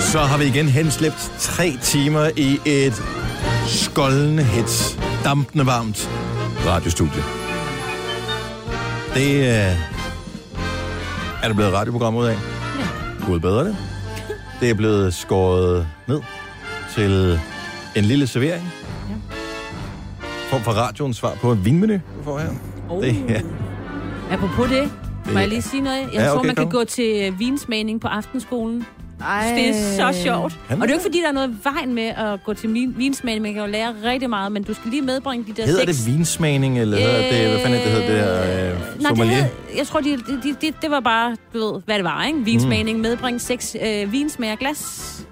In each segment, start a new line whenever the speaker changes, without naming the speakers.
Så har vi igen henslæbt tre timer i et skoldende hits. Dampende varmt radiostudie. Det øh, er der blevet et radioprogram ud af. Ja. Gud bedre det. Det er blevet skåret ned til en lille servering. Ja. Form for radioens svar på en vinmenu, du får her.
Oh.
Det er
Apropos det, må
Det-
jeg lige sige noget? Jeg
Ja,
tror,
okay,
man kan
kom.
gå til øh, vinsmagning på aftenskolen.
Ej.
Det er så sjovt.
Kan man
Og det er jo
det?
ikke, fordi der er noget i vejen med at gå til min- vinsmagning. Man kan jo lære rigtig meget, men du skal lige medbringe de der
Hedder
seks...
det vinsmagning, eller hedder det, hvad fanden er det, hedder det der,
Øh,
øh,
Nej, det
sommelier?
hed, jeg tror, det de, de, de, det var bare, du ved, hvad det var, ikke? Vinsmagning, mm. medbringe seks øh, vinsmagerglas.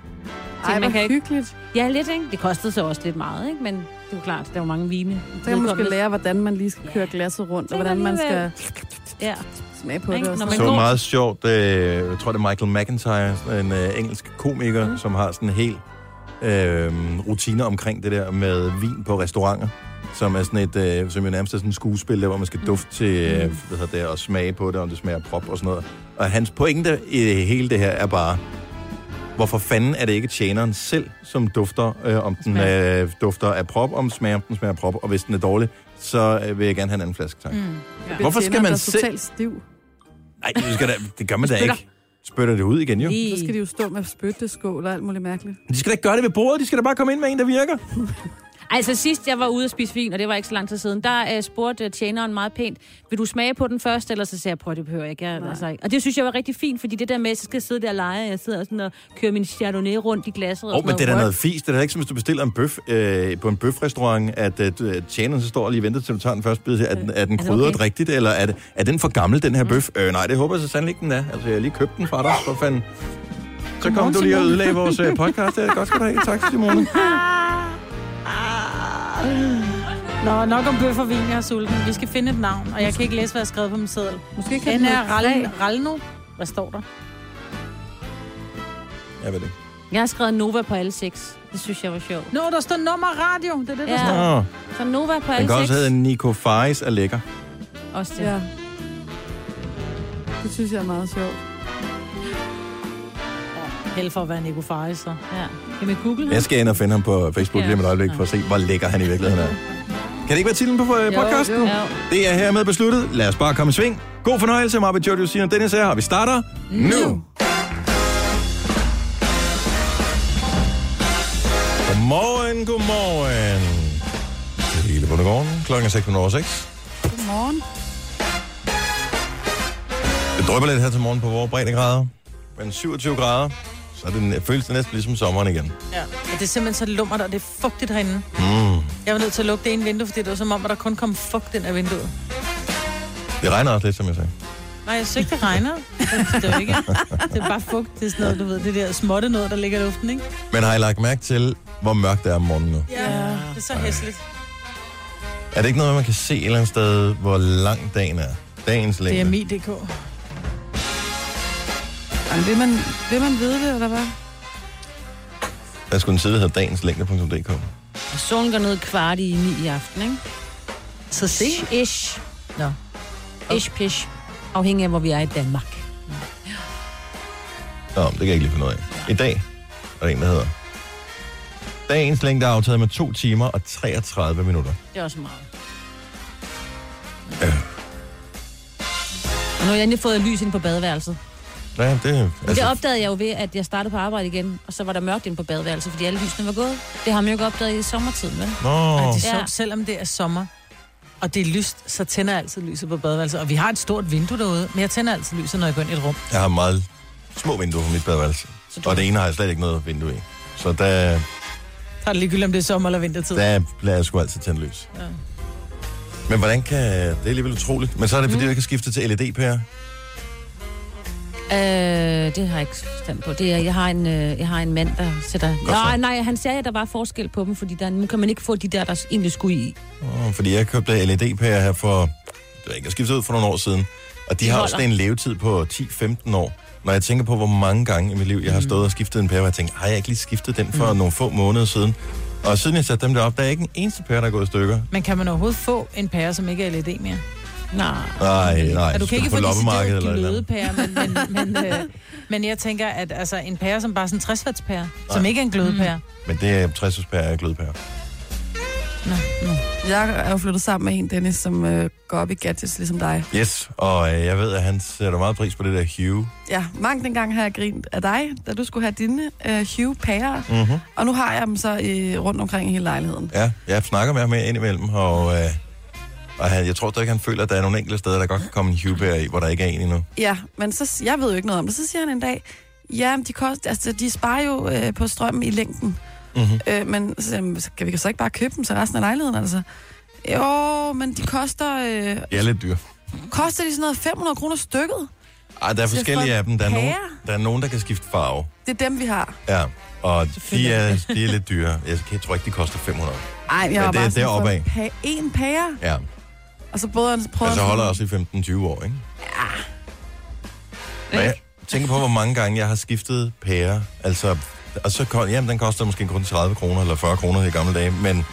Ej,
man
hvor
kan ikke-
hyggeligt.
Ja, lidt, ikke? Det kostede så også lidt meget, ikke? Men det er jo klart, der var mange vine.
Så kan man måske lære, hvordan man lige skal køre glasset rundt, og
Tænk
hvordan man skal
alligevel. Ja.
smage på det.
Ikke?
Og sådan.
Når man-
så
god.
meget sjovt, øh, jeg tror det er Michael McIntyre, sådan en øh, engelsk komiker,
Mhm.
mm. som har sådan en hel øh, rutine omkring det der med vin på restauranter, som er sådan et, øh, som jo nærmest er sådan et skuespil, der, hvor man skal
Mhm.
dufte til, øh, hvad hedder det, og smage på det, om det smager af prop og sådan noget. Og hans pointe i hele det her er bare, hvorfor fanden er det ikke tjeneren selv, som dufter, øh, om den øh, dufter af prop, om smager, om den smager af prop, og hvis den er dårlig, så øh, vil jeg gerne have en anden flaske, tak. Mm.
Det er
Hvorfor skal
tænderen,
man
der er
selv-
totalt stiv?
Nej, det, skal da, det gør man da
Spytter.
ikke. Spytter det ud igen, jo.
Lige.
Så skal de jo stå med spytteskål og alt muligt mærkeligt.
De skal da ikke gøre det ved bordet, de skal da bare komme ind med en, der virker.
Altså sidst jeg var ude og spise vin, og det var ikke så lang tid siden, der uh, spurgte øh, tjeneren meget pænt, vil du smage på den først, eller så sagde jeg, prøv det behøver jeg ikke. Jeg, altså, ikke. Og det synes jeg var rigtig fint, fordi det der med, at jeg skal sidde der og lege, og jeg sidder sådan og kører min chardonnay rundt i glasset.
Åh, oh, men det er da noget fisk. Det er da ikke som, hvis du bestiller en bøf øh, på en bøfrestaurant, at øh, du- at tjeneren så står og lige venter til du tager den første bid. Er den, er den
Øh, det
krydret
okay?
rigtigt, eller er, det, er den for gammel, den her bøf? Øh, nej, det håber jeg så sandelig ikke, den er. Altså, jeg har lige købt den fra dig, for fanden. Så kom du lige og ødelagde vores øh, podcast. Det er godt skal du have. Tak, Simone.
Nå, nok om bøf og vin, jeg er sulten. Vi skal finde et navn, og jeg kan ikke læse, hvad jeg har skrevet på min seddel.
Måske kan
Den
den
er
hedde
Rallen- Ralno. Hvad står der?
Jeg ved det ikke.
Jeg har skrevet Nova på alle seks. Det synes jeg var sjovt.
Nå, der står nummer radio. Det er det, der
Ja.
står.
Nå,
Så Nova på
den
alle
kan
seks.
også hedde Nico Faris er lækker.
Også det.
Ja. Det synes jeg er meget sjovt.
Held for at være Nico Faris, så.
Ja. Kan vi google
Jeg skal ind og finde ham på Facebook
Ja.
lige om et øjeblik, for at se, hvor lækker han i virkeligheden er. Kan det ikke være titlen på øh, podcasten?
Jo, jo.
Det er hermed besluttet. Lad os bare komme i sving. God fornøjelse med Arbejde Jojo Sina Dennis her, og vi starter nu. nu. Godmorgen, godmorgen. Det er hele Bundegården. Klokken er 6.06.
Godmorgen.
Det drøber lidt her til morgen på vores breddegrader. Men 27 grader, så er det, næ- føles det næsten ligesom sommeren igen.
Ja. ja. det er simpelthen så lummert, og det er fugtigt herinde. Mm. Jeg var nødt til at lukke det ene vindue, fordi det var som om, at der kun kom fugt ind af vinduet.
Det regner også lidt, som jeg sagde.
Nej, jeg synes ikke, det regner. Det er jo ikke. Det er bare fugt. Det er sådan noget, du ved, det der småtte noget, der ligger i luften, ikke?
Men har I lagt mærke til, hvor mørkt det er om morgenen nu?
Ja. Det er så hæsligt.
Er det ikke noget, man kan se et eller andet sted, hvor lang dagen er? Dagens
Det
længde.
er mi.dk.
Jamen, vil, man, vil man vide det, eller hvad?
Der skulle en side, der hedder dagenslængde.dk.
Og solen går ned kvart i ni i aften, ikke?
Så se.
Ish.
Nå.
Ish pish. Afhængig af, hvor vi er i Danmark.
Nå, det kan jeg ikke lige finde ud af. I dag er der en, der hedder. Dagens længde er aftaget med 2 timer og 33 minutter.
Det er også meget.
Ja.
Og nu har jeg endelig fået lys ind på badeværelset.
Ja, det,
Altså... Det
altså,
opdagede jeg jo ved, at jeg startede på arbejde igen, og så var der mørkt inde på badeværelset, fordi alle lysene var gået. Det har man jo ikke opdaget i sommertiden, vel?
Og
nå,
det er så,
Ja.
Selvom det er sommer, og det er lyst, så tænder jeg altid lyset på badeværelset. Og vi har et stort vindue derude, men jeg tænder altid lyset, når jeg går ind i et rum.
jeg har meget små vinduer på mit badeværelse. Og det ene har jeg slet ikke noget vindue i. Så der,
Så er det ligegyldigt, om det er sommer eller vintertid.
der lader jeg sgu altid tænde lys. Ja. Men hvordan kan... Det er alligevel utroligt. Men så er det, fordi mm. du kan skifte til LED, Per.
Øh, det har jeg ikke stand på. Det er, jeg, har en, øh, jeg har en mand, der sætter...
Godt så.
Nej, nej, han sagde, at der var forskel på dem, fordi der, nu kan man ikke få de der, der egentlig skulle i.
Åh, Fordi jeg købte LED-pærer her for, det ved jeg ikke, jeg skiftede ud for nogle år siden. Og de,
De
har
holder.
også en levetid på 10-15 år. Når jeg tænker på, hvor mange gange i mit liv, jeg har stået og skiftet en pære, hvor jeg tænker, har jeg ikke lige skiftet den for nogle få måneder siden? Og siden jeg satte dem deroppe, der er ikke en eneste pære, der er gået i stykker.
Men kan man overhovedet få en pære, som ikke er LED E mere? Nej.
Nej,
Mm.
nej.
Ja, du kan ikke
få
få
loppemarked
decideret
eller et eller andet.
glødepære, men, men, men, øh, men jeg tænker, at altså, en pære som bare er sådan en 60 watts pære, som ikke er en glødepære.
Men det er 60 pære af glødepære.
Nå, nå.
Jeg er jo flyttet sammen med en, Dennis, som øh, går op i gadgets, ligesom dig.
Yes, og øh, jeg ved, at han sætter meget pris på det der Hue.
Ja, mange dengang har jeg grint af dig, da du skulle have dine øh, Hue-pærer.
Mm-hmm.
Og nu har jeg dem så øh, rundt omkring i hele lejligheden.
Ja, jeg snakker med ham indimellem, og, øh, og han, jeg tror stadig, han føler, at der er nogle enkelte steder, der godt kan komme en Hue-pære i, hvor der ikke er en endnu.
Ja, men så, s- jeg ved jo ikke noget om det. Så siger han en dag, ja, men de, kost, altså, de sparer jo øh, på strømmen i længden.
Mm-hmm.
Øh, men så, siger jeg, "Men så kan vi så ikke bare købe dem til resten af lejligheden, altså? Jo, men de koster... Øh,
Det er lidt dyrt.
koster de sådan noget 500 kroner stykket?
Ej, der er
Så
forskellige
for
af dem. Der er, nogen,
pære?
der er nogen, der kan skifte farve.
Det er dem, vi har.
Ja, og de
Selvfølgelig.
er, de er lidt dyre. Jeg, kan- jeg tror ikke, de koster 500.
Ej, jeg var
det er
bare sådan,
deroppe af.
så pa- en pære,
Ja,
og så både han prøver...
og så Altså, holder jeg også i 15-20 år, ikke? Ja. Og jeg tænker på, hvor mange gange jeg har skiftet pære. Altså, og så, ko- jamen, den koster måske kun 30 kroner eller 40 kroner i gamle dage, men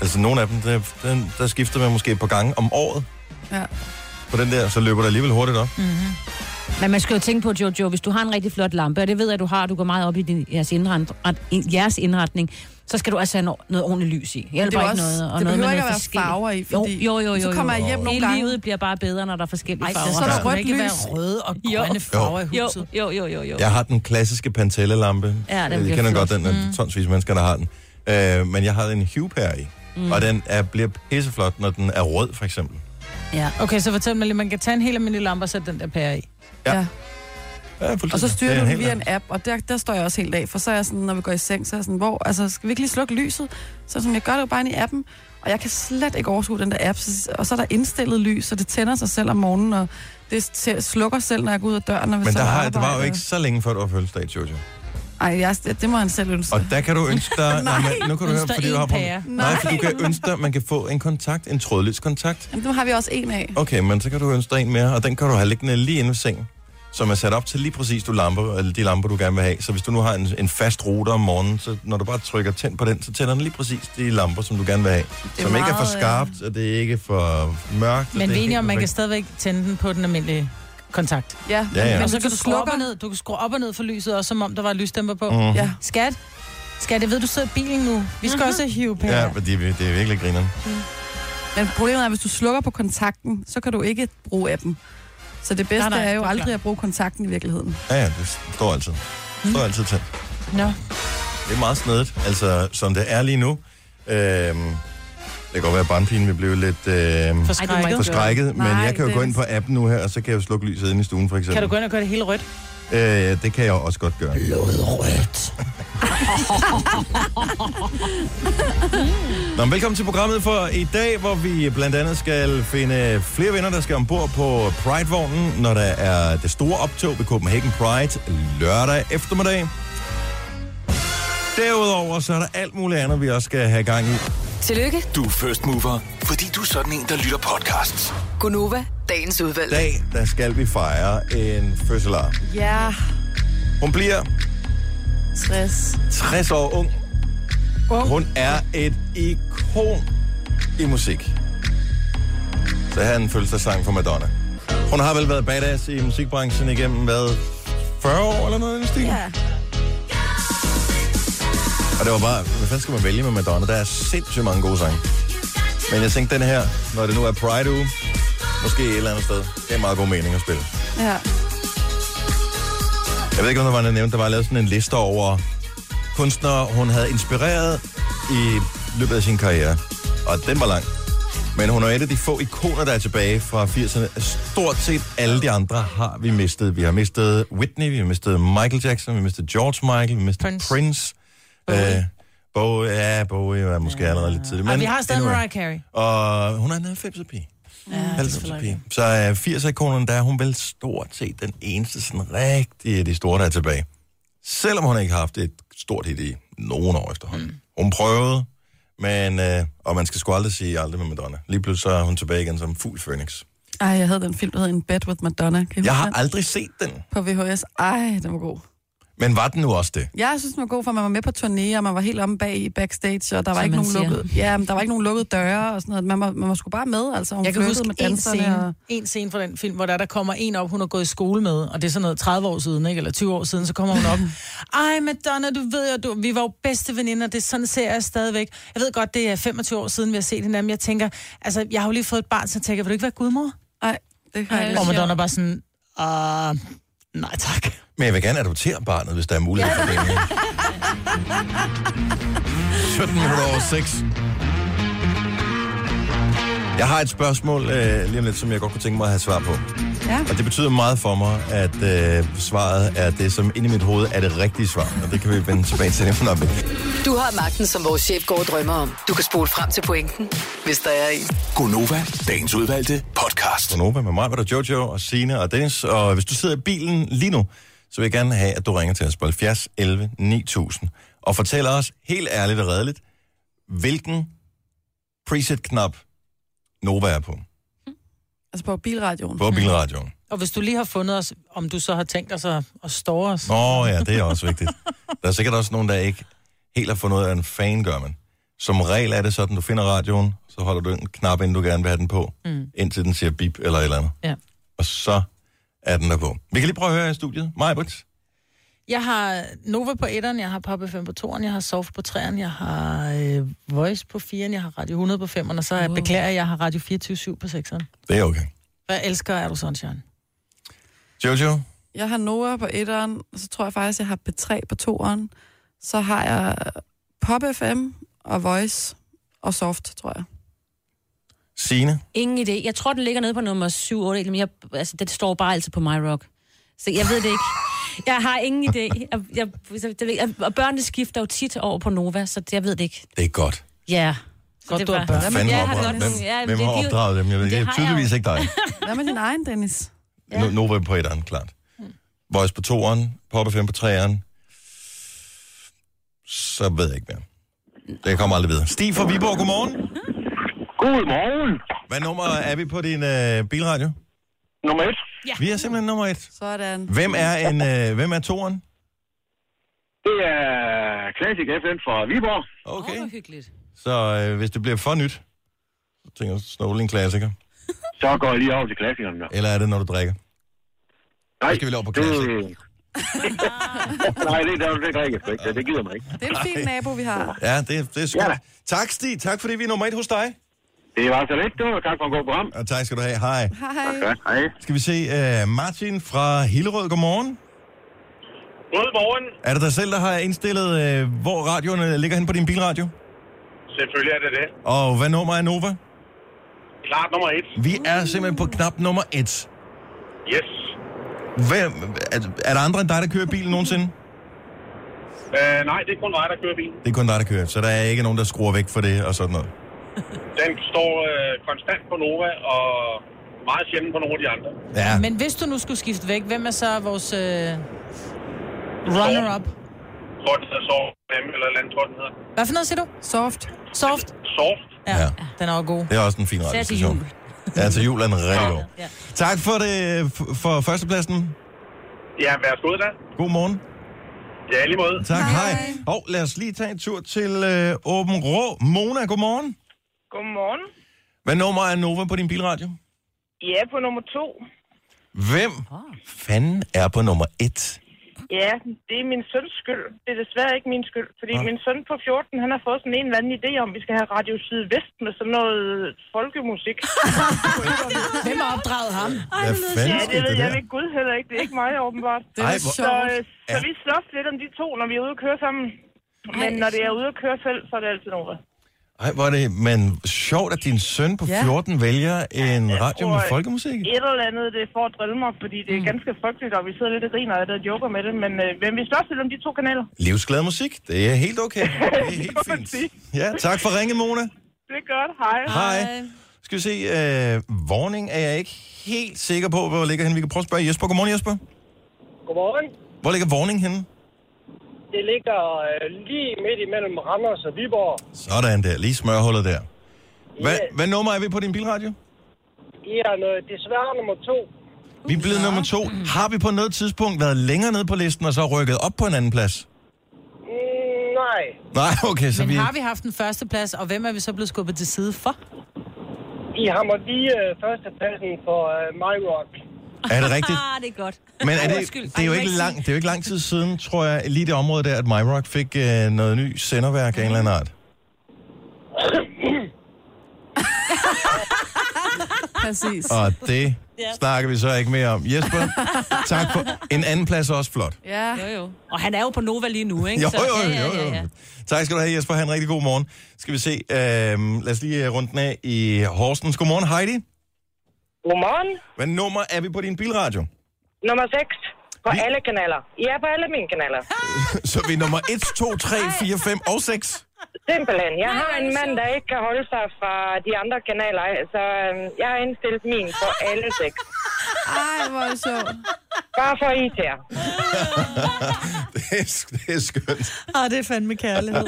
altså, nogle af dem, der, den, der skifter man måske et par gange om året.
Ja. Mm.
På den der, så løber der alligevel hurtigt op.
Men man skal jo tænke på, Jojo, hvis du har en rigtig flot lampe, og det ved jeg, du har, og du går meget op i din, jeres, indret, jeres indretning, så skal du altså have no- noget ordentligt lys i.
Men det,
Hjælper
er jo
ikke
også,
noget, og
det
noget med
behøver
noget
ikke at være
forskelligt.
farver i,
Jo,
fordi...
jo, jo
Så
jo,
kommer jeg
jo.
hjem nogle
Hele
gange.
livet bliver bare bedre, når der er forskellige
Ej,
farver.
så er der
der
rødt
ikke
lys.
være røde og
Mm. Jo.
grønne farver i
jo,
huset.
jo, jo, jo, jo.
Jeg har den klassiske Pantelle-lampe.
Ja, den
Øh,
bliver
Jeg kender
flot.
godt den, der
Mm.
er tonsvis af mennesker, der har den. Øh, men jeg har en Hue-pære i, mm. og den er, bliver pisseflot, når den er rød, for eksempel.
Ja.
Okay, så fortæl mig lige, man kan tage en helt almindelig lampe og sætte den der pære i.
Ja.
Ja.
Ja,
Og så
fuldstændig.
styrer
Det er
du det
helt
via en app, og der, der står jeg også helt af, for så er jeg sådan, når vi går i seng, så er jeg sådan, hvor, altså, skal vi ikke lige slukke lyset? Så som jeg gør det jo bare inde i appen, og jeg kan slet ikke overskue den der app, så, og så er der indstillet lys, så det tænder sig selv om morgenen, og det tæ- slukker selv, når jeg går ud af døren. Og
Men der, har, det var jo ikke så længe før, du var fødselsdag, Jojo.
Ej, jeg, det, det må han selv ønske.
Og der kan du ønske dig... nej, men nu kan du høre,
Ønsker
fordi du
en
har
pære.
problem. Nej, for du kan ønske dig, at man kan få en kontakt, en trådløs kontakt.
Jamen, nu har vi også en af.
Okay, men så kan du ønske dig en mere, og den kan du have liggende lige inde ved sengen som er sat op til lige præcis du lamper, eller de lamper, du gerne vil have. Så hvis du nu har en, en fast router om morgenen, så når du bare trykker tænd på den, så tænder den lige præcis de lamper, som du gerne vil have.
er
Som ikke er for
meget, øh,
skarpt, og det er ikke for mørkt. og
Men
det er
vi er enige
helt
om, man kan
perfekt.
stadigvæk tænde den på den almindelige kontakt.
Ja,
Ja, ja.
Men
Men
og så
hvis
kan du,
du
skrue op
slukker-
og ned. Du kan skrue op og ned for lyset, også som om der var lysdæmper på. Mm.
Mhm.
Ja.
Skat, skat, jeg ved, du sidder i bilen nu. Vi skal også hive pære.
Ja, men det, er- det er virkelig grineren.
Men problemet er, at hvis du slukker på kontakten, så kan du ikke bruge appen. Så det bedste nej,
Nej, nej,
nej, er jo
det er
aldrig
klart.
at bruge kontakten i virkeligheden.
Ja, ja, det står altid. Det står altid tændt.
Nå.
Det er meget snedigt, altså som det er lige nu. Øhm, det kan godt være, at brandpinen vil blive lidt øhm,
For
Ej, du må ikke-
forskrækket, men
Nej,
jeg kan jo
det-
gå ind på appen nu her, og så kan jeg jo slukke lyset inde i stuen, for eksempel.
Kan du gå ind og gøre det hele rødt?
Øh, det kan jeg også godt gøre.
Blod rødt.
Nå, men velkommen til programmet for i dag, hvor vi blandt andet skal finde flere vinder, der skal ombord på Pride-vognen, når der er det store optog ved Copenhagen Pride lørdag eftermiddag. Derudover så er der alt muligt andet, vi også skal have gang i.
Tillykke,
Du er first mover, fordi du er sådan en, der lytter podcasts.
Gunova, dagens udvalgte.
dag, der skal vi fejre en fødselar.
Ja,
Hun bliver
60.
60 år ung. Hun er et ikon i musik. Så her er en fødselsdagssang for Madonna. Hun har vel været badass i musikbranchen igennem, hvad, 40 år eller noget i den stil?
Ja.
Og det var bare, hvad fanden skal man vælge med Madonna? Der er sindssygt mange gode sange. Men jeg tænkte den her, når det nu er Pride-uge, måske et eller andet sted, det er meget god mening at spille.
ja.
Jeg ved ikke, om der var noget nævnt. Der var lavet sådan en liste over kunstnere, hun havde inspireret i løbet af sin karriere. Og den var lang. Men hun er et af de få ikoner, der er tilbage fra 80'erne. Stort set alle de andre har vi mistet. Vi har mistet Whitney, vi har mistet Michael Jackson, vi har mistet George Michael, vi har mistet Prince.
Prince.
Prince. Bowie. Øh, Bowie, ja, Bowie var måske ja. allerede lidt tidligt.
Men, vi har stadig
anyway.
Mariah Carey.
Og hun er en 90'er pige. Ja, 90'er pige. Så øh, 80'er-ikonerne, der er hun vel stort set den eneste sådan rigtig af de store, der er tilbage. Selvom hun ikke har haft et stort hit i nogen år efterhånden. Mm. Hun prøvede, men, øh, og man skal sgu aldrig sige aldrig med Madonna. Lige pludselig så er hun tilbage igen som fugl phoenix.
Ej, jeg havde den film, der hed In Bed With Madonna. Kan I
Jeg
huske
har
den?
aldrig set den,
På VHS. Ej, den var god.
Men var den nu også det?
Jeg synes, den var god, for man var med på turné, og man var helt omme bag i backstage, og der var,
Som
ikke
man
nogen,
siger.
lukkede, ja, men der var ikke nogen lukkede døre og sådan noget. Man var, man var sgu bare med, altså. Hun
Jeg kan
flirtede
huske
med
en
danserne,
scene,
Og...
en scene fra den film, hvor der, der kommer en op, hun har gået i skole med, og det er sådan noget 30 år siden, ikke? eller 20 år siden, så kommer hun op. Ej, Madonna, du ved jo, du, vi var jo bedste veninder, det er sådan ser jeg stadigvæk. Jeg ved godt, det er 25 år siden, vi har set hinanden, men jeg tænker, altså, jeg har jo lige fået et barn, så jeg tænker, vil du ikke være gudmor?
Ej, det har jeg
Ej,
ikke.
Og
sjovt.
Madonna bare sådan, ah, nej tak.
Men jeg vil gerne adoptere barnet, hvis der er mulighed for det. 17 minutter over 6. Jeg har et spørgsmål øh, lige om lidt, som jeg godt kunne tænke mig at have svar på.
Ja.
Og det betyder meget for mig, at øh, svaret er det, som inde i mit hoved er det rigtige svar. Og det kan vi vende tilbage til efter en øjeblik.
Du har magten, som vores chef går og drømmer om. Du kan spole frem til pointen, hvis der er en.
Gonova, dagens udvalgte podcast.
Gonova med mig, hvor der er Jojo og Sine og Dennis. Og hvis du sidder i bilen lige nu, så vil jeg gerne have, at du ringer til os på 70 11 9000 og fortæller os helt ærligt og redeligt, hvilken preset-knap Nova er på,
Altså på bilradioen.
på bilradioen.
Og hvis du lige har fundet os, om du så har tænkt os at, at stå os.
Nå ja, det er også vigtigt. Der er sikkert også nogen, der ikke helt har fundet ud af, en fan gør man. Som regel er det sådan, du finder radioen, så holder du den knap, inden du gerne vil have den på, mm. indtil den siger bip eller et eller andet.
Ja.
Og så er den der på. Vi kan lige prøve at høre her i studiet. Majbrits.
Jeg har Nova på etteren, jeg har Papa 5 på toeren, jeg har Soft på treeren, jeg har øh, Voice på firen, jeg har Radio 100 på femeren, og så wow. beklager jeg, jeg har Radio 24 på sekseren.
Det er okay.
Hvad elsker er du sunshine?
Jojo?
Jeg har Noah på etteren, og så tror jeg faktisk, jeg har P3 på toeren. Så har jeg øh, Pop FM og Voice og Soft, tror jeg.
Sine.
Ingen idé. Jeg tror, den ligger nede på nummer 7, 8, men jeg, altså, det står bare altid på My Rock. Så jeg ved det ikke. Jeg har ingen idé. Jeg, jeg, så det, ved jeg, og børnene skifter jo tit over på Nova, så det, jeg ved det ikke.
Det er godt.
Ja. Yeah.
Godt, du har børn.
Hvem, fanden
jeg
har
har
opdraget
godt-
dem?
ja,
Hvem
det-
har
de-
opdraget dem? Jeg ved
det
ikke. Det er
har jeg
tydeligvis
jo.
ikke dig.
Hvad med din egen, Dennis?
Ja. Nova på etteren, klart. Voice på toeren, Pop 5 på treeren. Så ved jeg ikke mere. Det kommer aldrig videre. Stig fra Viborg, godmorgen.
Godmorgen.
Hvad nummer er vi på din øh, bilradio?
Nummer et,
Vi er simpelthen nummer et.
Sådan.
Hvem er, en, øh, hvem er toeren?
det er Classic FN fra Viborg.
Okay.
hyggeligt.
Så øh, hvis det bliver for nyt, så tænker jeg, snåle en klassiker.
Så går jeg lige over til klassikeren. Ja.
Eller er det, når du drikker?
Nej,
skal vi over på
det...
Classic.
Nej, det, det, det drikker jeg sgu ikke. Det, det gider mig ikke.
Det er en fin nabo, vi har.
Ja, det, det er
Ja
sgu.
da.
Tak, Stig. Tak, fordi vi er nummer et hos dig.
Det var så lidt, du. Tak for en god program.
Og tak skal du have. Hej.
Hej.
Ja, hej.
Skal vi se øh, Martin fra Hillerød. Godmorgen.
Godmorgen.
Er det dig selv, der har indstillet, øh, hvor radioerne ligger hen på din bilradio?
Selvfølgelig er det det.
Og hvad nummer er Nova?
Klart nummer et.
Vi er simpelthen på knap nummer et.
Yes.
Hvem, er, er der andre end dig, der kører bilen nogensinde?
Øh, nej, det er kun mig, der kører bilen.
Det er kun dig, der kører, så der er ikke nogen, der skruer væk for det og sådan noget.
Den står øh, konstant på Nova og meget sjældent på nogle af de andre.
Ja,
Men hvis du nu skulle skifte væk, hvem er så vores øh, runner-up?
Tror den hedder Sov, eller et eller andet, tror den hedder.
Hvad for noget siger du?
Soft.
Soft?
Soft.
Ja,
Ja.
ja. den er jo god.
det er også en fin
Så er det
radiostation.
jul.
Ja, til jul er den rigtig god.
Ja.
Tak for, det, øh, f- for førstepladsen.
Ja, vær så god da.
God morgen.
Ja, i lige måde.
Tak, hej. hej. Og lad os lige tage en tur til øh, Åben Rå. Mona, godmorgen.
Godmorgen.
Hvad nummer er Nova på din bilradio?
Ja, på nummer to.
Hvem fanden er på nummer et?
Ja, det er min søns skyld. Det er desværre ikke min skyld, fordi min søn på 14, han har fået sådan en eller anden idé om, at vi skal have Radio Sydvest med sådan noget øh, folkemusik.
Hvem har opdraget ham?
Hvad
ja,
fanden
det
skete
ved
det
jeg
der?
ikke Gud heller ikke. Det er ikke mig, åbenbart.
Det
Ej,
er
hvor-
Så,
sjovt.
øh, så vi slås lidt om de to, når vi er ude at køre sammen. Men når det er ude at køre selv, så er det altid noget.
Ej, hvor er det, men sjovt, at din søn på
Ja.
14 vælger en radio med
tror,
folkemusik.
Et eller andet, det er for at drille mig, fordi det er
Mm.
ganske frygteligt, og vi sidder lidt og griner af det og joker med det. Men, øh, men vi slås lidt om de to kanaler.
Livsglad musik, det er helt okay. Det er helt fint. Ja, tak for ringen, Mona.
Det er godt. Hej.
Hej. Skal vi se, øh, Vorning er jeg ikke helt sikker på, hvor ligger henne. Vi kan prøve at spørge Jesper. Godmorgen, Jesper.
Godmorgen.
Hvor ligger Vorning henne?
Det ligger øh, lige midt imellem Randers og Viborg.
Sådan der, lige smørhullet der. Hvad,
Ja.
hvad nummer er vi på din bilradio?
I er noget, desværre nummer to.
Vi er blevet nummer to. Har vi på noget tidspunkt været længere nede på listen, og så rykket op på en anden plads?
Mm, nej.
Nej, okay, så
Men
vi...
har vi haft den første plads, og hvem er vi så blevet skubbet til side for?
I hammer lige øh, førstepladsen for øh, My Rock.
Er det rigtigt?
Ah, det er godt.
Men er
Ej,
det,
undskyld.
det, er jo
Ej, må
ikke
jeg
lang, det er jo ikke lang tid siden, tror jeg, lige det område der, at MyRock fik øh, noget ny senderværk af en eller anden art.
Præcis.
Og det snakker vi så ikke mere om. Jesper, tak for en anden plads er også flot.
Ja.
sige. Jo, jo. Og han er jo på Nova lige nu, ikke?
Jo,
Så-
jo,
ja, ja,
jo,
ja, ja.
jo. Tak skal du have, Jesper. Ha' en rigtig god morgen. Skal vi se. Øh, lad os lige øh, runde den af i Horsens. Godmorgen, Heidi.
Godmorgen.
Hvad nummer er vi på din bilradio?
Nummer 6. På
Vi-
alle kanaler. Ja, på alle mine kanaler.
Så vi er nummer 1, 2, 3, 4, 5 og 6.
Simpelthen. Jeg har en mand, der ikke kan holde sig fra de andre kanaler, så øhm, jeg har indstillet min på alle seks.
Ej, hvor er det sjovt.
Bare for IT.
Det er, det er skønt.
Ah, det er fandme kærlighed.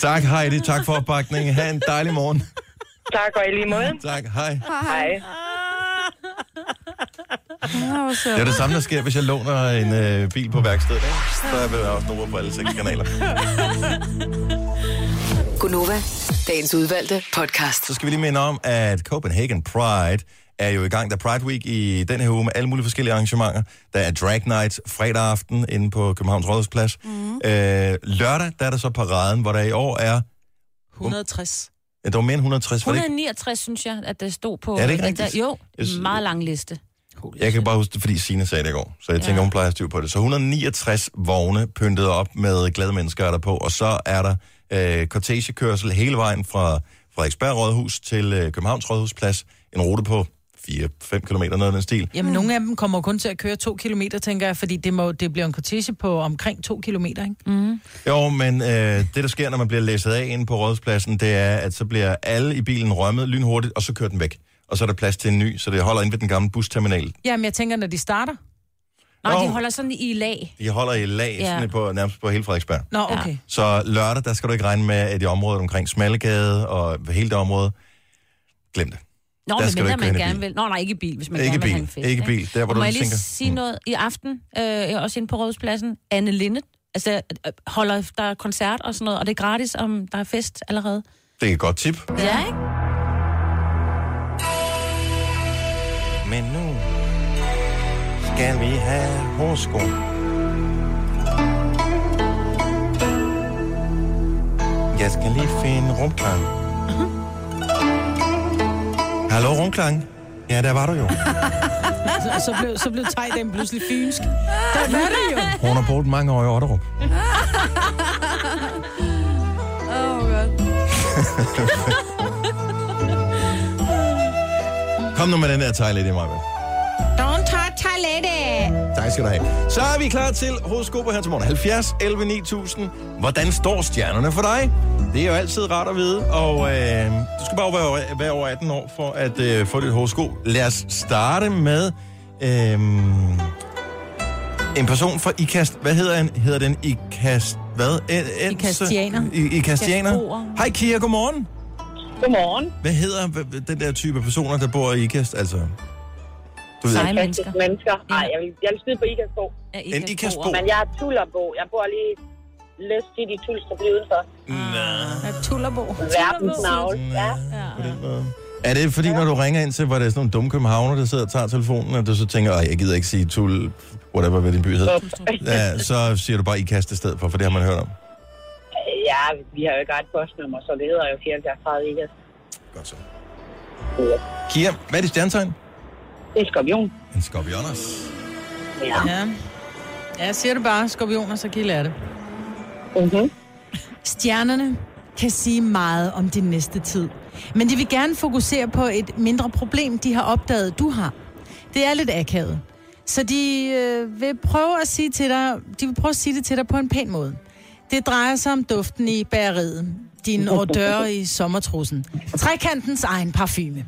Tak, Heidi. Tak for opbakningen. Ha' en dejlig morgen.
Tak og i lige måde.
Tak. Hej.
Hej.
Ja, hvor sjovt.
Det er det samme, der sker, hvis jeg låner en øh, bil på værkstedet. ikke? Så er der også nummer på alle seks kanaler.
Gunova, dagens udvalgte podcast.
Så skal vi lige minde om, at Copenhagen Pride er jo i gang. Der er Pride Week i den her uge med alle mulige forskellige arrangementer. Der er Drag Night fredag aften inde på Københavns Rådhusplads. Mm. Øh, lørdag, der er der så paraden, hvor der i år er,
160.
ja, der var mere end 160. Var det ikke?
169, synes jeg, at det stod på...
Er det ikke
at der-
rigtigt?
Jo,
Jeg synes-
meget lang liste.
Jeg kan bare huske det, fordi Sina sagde det i går, så jeg tænker,
Ja.
hun plejer at styr på det. Så 169 vogne pyntet op med glade mennesker er der på, og så er der øh, cortege-kørsel hele vejen fra Frederiksberg Rådhus til øh, Københavns Rådhusplads. En rute på 4-5 km, noget af den stil.
Jamen, nogle af dem kommer kun til at køre to kilometer, tænker jeg, fordi det, må, det bliver en kortege på omkring to kilometer, ikke? Mm.
Jo, men øh, det, der sker, når man bliver læsset af inde på rådspladsen, det er, at så bliver alle i bilen rømmet lynhurtigt, og så kører den væk. Og så er der plads til en ny, så det holder inde ved den gamle busterminal.
Jamen, jeg tænker, når de starter.
Nej,
Nå.
de holder sådan i lag.
De holder i lag
Ja.
sådan på, nærmest på hele Frederiksberg.
Nå, okay.
Så lørdag, der skal du ikke regne med, at i området omkring Smallegade og hele det område, glem det.
Nå,
Der
men
skal du
mindre
ikke køre
man
ind i
gerne
bil.
vil... Nå, nej, ikke i bil, hvis man
Ikke
gerne
i
vil have
bil.
en fest.
Ikke i bil. Der, hvor
Må
du
jeg lige
tænker,
sige
mm.
noget? I aften, øh, også inde på Rådhuspladsen, Anne Linde, altså øh, holder der er koncert og sådan noget, og det er gratis, om der er fest allerede.
Det er et godt tip.
Ja, ikke?
Men nu skal vi have hårsko. Jeg skal lige finde rumklang. Hallo, rumklang. Ja, der var du jo.
Så, så blev, så blev Tejden pludselig fynsk. Der var det jo.
Hun har boet mange år i Otterup.
Åh, hvor godt.
Kom nu med den der tegl i det, Maja.
Don't touch toilettet.
Tak skal du have. Så er vi klar til horoskoper her til morgen. 70 11 9000. Hvordan står stjernerne for dig? Det er jo altid rart at vide, og øh, du skal bare være, være over 18 år for at øh, få dit horoskop. Lad os starte med øh, en person fra IKAST. Hvad hedder han? Hedder den IKAST? Hvad? Ed,
Ikastianer.
I, Ikastianer.
Ikastboer.
Hej Kia, godmorgen.
Godmorgen.
Hvad hedder h- h- den der type personer, der bor i IKAST? Altså, du ved,
Seje
ikke.
mennesker.
Fantastiske mennesker. Nej, jeg vil, jeg vil skyde på Ikastbo.
Ja,
En Ikastbo.
Men jeg er tullerbo. Jeg bor lige Løs City, Tulstrup lige udenfor.
Tullerbo.
Verdens navl.
Mm.
Ja.
på den måde. Er det fordi, når du ringer ind til, hvor det er sådan nogle dumme københavner, der sidder og tager telefonen, og du så tænker, at jeg gider ikke sige tul, whatever, hvad din by hedder, ja, så siger du bare ikast i stedet for, for det har man hørt om.
ja, vi har jo ikke ret postnummer, så det hedder jo 7430 Ikast.
Godt så.
Ja.
Kia, hvad er dit stjernetegn?
Det er skorpion.
En skorpioners.
Ja.
Ja. Ja, jeg siger det bare. Skorpioner, så kan I lære det.
Mm-hmm.
Stjernerne kan sige meget om din næste tid, men de vil gerne fokusere på et mindre problem, de har opdaget, du har. Det er lidt akavet. Så de øh, vil prøve at sige til dig, de vil prøve at sige det til dig på en pæn måde. Det drejer sig om duften i bageriet, din odør i sommertrussen, trekantens egen parfume.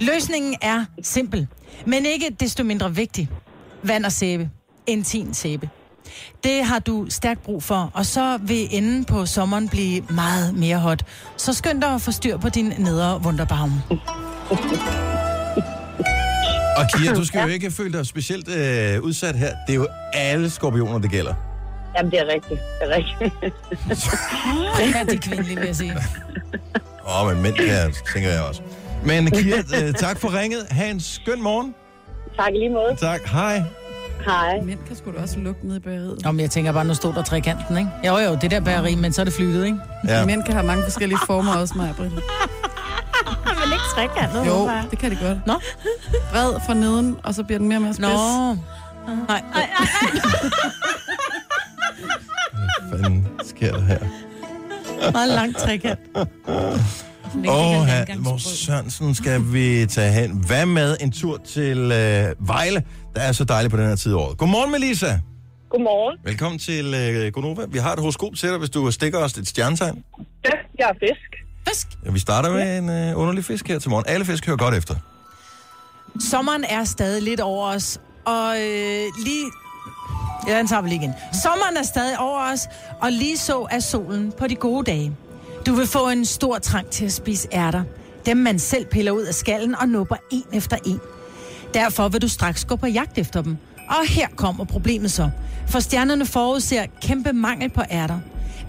Løsningen er simpel, men ikke desto mindre vigtig. Vand og sæbe. Intim sæbe. Det har du stærkt brug for, og så vil enden på sommeren blive meget mere hot. Så skynd dig at få styr på din nedre wunderbaum.
Og Kia, du skal jo ikke føle dig specielt øh, udsat her. Det er jo alle skorpioner, det gælder.
Jamen, det er rigtigt. Det er rigtigt.
Ja, det er kvindelige, vil jeg sige.
Åh, oh, men mænd kan, tænker jeg også. Men Kia, øh, tak for ringet. Ha' en skøn morgen.
tak i lige måde.
Tak. Hej.
Hej.
Mænd kan sgu da også lugte ned i bageriet.
Nå, men jeg tænker bare, nu stod der trekanten, ikke? Jo, jo, det der bageri, men så er det flyttet, ikke?
Ja.
Ja. Mænd kan have mange forskellige former også, mig, Britt.
Men ikke trekantet.
Jo,
håber jeg.
det kan de godt.
Nå.
Bred for neden, og så bliver den mere og mere
Nå.
spids. Nå.
Nej,
Hvad fanden sker der her?
meget langt trekant.
Åh, oh, hvor Sørensen skal vi tage hen. Hvad med en tur til øh, Vejle? Der er så dejligt på den her tid af året. Godmorgen, Melissa.
Godmorgen.
Velkommen til øh, Gonova. Vi har et horoskop til dig, hvis du stikker os et stjernetegn.
Ja, jeg er fisk.
Ja, Vi starter med en øh, underlig fisk her til morgen. Alle fisk hører godt efter.
Sommeren er stadig lidt over os, og øh, lige... Ja, den tager vi lige igen. Sommeren er stadig over os, og lige så er solen på de gode dage. Du vil få en stor trang til at spise ærter. Dem, man selv piller ud af skallen og nupper en efter en. Derfor vil du straks gå på jagt efter dem. Og her kommer problemet så. For stjernerne forudser kæmpe mangel på ærter.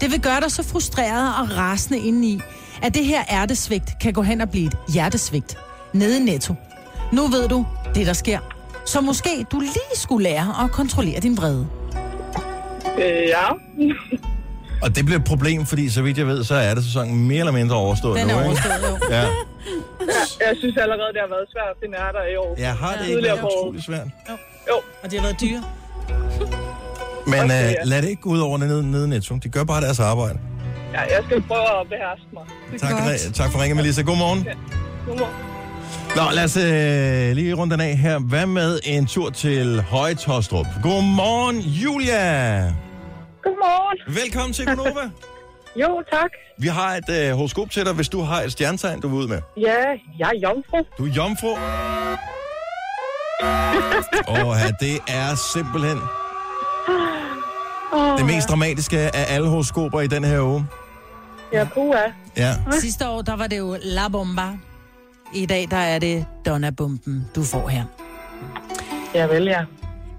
Det vil gøre dig så frustreret og rasende indeni, at det her ærtesvigt kan gå hen og blive et hjertesvigt. Nede i netto. Nu ved du det, der sker. Så måske du lige skulle lære at kontrollere din vrede.
Øh, ja.
Og det bliver et problem, fordi så vidt jeg ved, så er det sæsonen mere eller mindre overstået
Den
nu,
er
ikke?
overstået jo.
Ja.
Jeg synes allerede, det har været svært at finde ærter i år.
Jeg har det ikke
Tidligere
været
på året.
utrolig svært.
Og det har været dyre.
Men
Okay,
øh,
ja.
lad det ikke gå ud over nede, nede netto. De gør bare deres arbejde.
Ja, jeg skal prøve at beherske mig.
Tak, re- tak for ringen, Melissa. Godmorgen.
Godmorgen.
Nå, lad os øh, lige runde den af her. Hvad med en tur til Højtostrup? Godmorgen, Julia.
Godmorgen.
Velkommen til Gunova.
Jo, tak.
Vi har et øh, horoskop til dig, hvis du har et stjernetegn, du vil ud med.
Ja, jeg er jomfru.
Du er jomfru. Åh, ja, det er simpelthen det mest dramatiske af alle horoskoper i den her uge.
Jeg er kua.
Ja.
Sidste år, der var det jo La Bomba. I dag, der er det Donna-bomben, du får her.
Ja, vel, ja.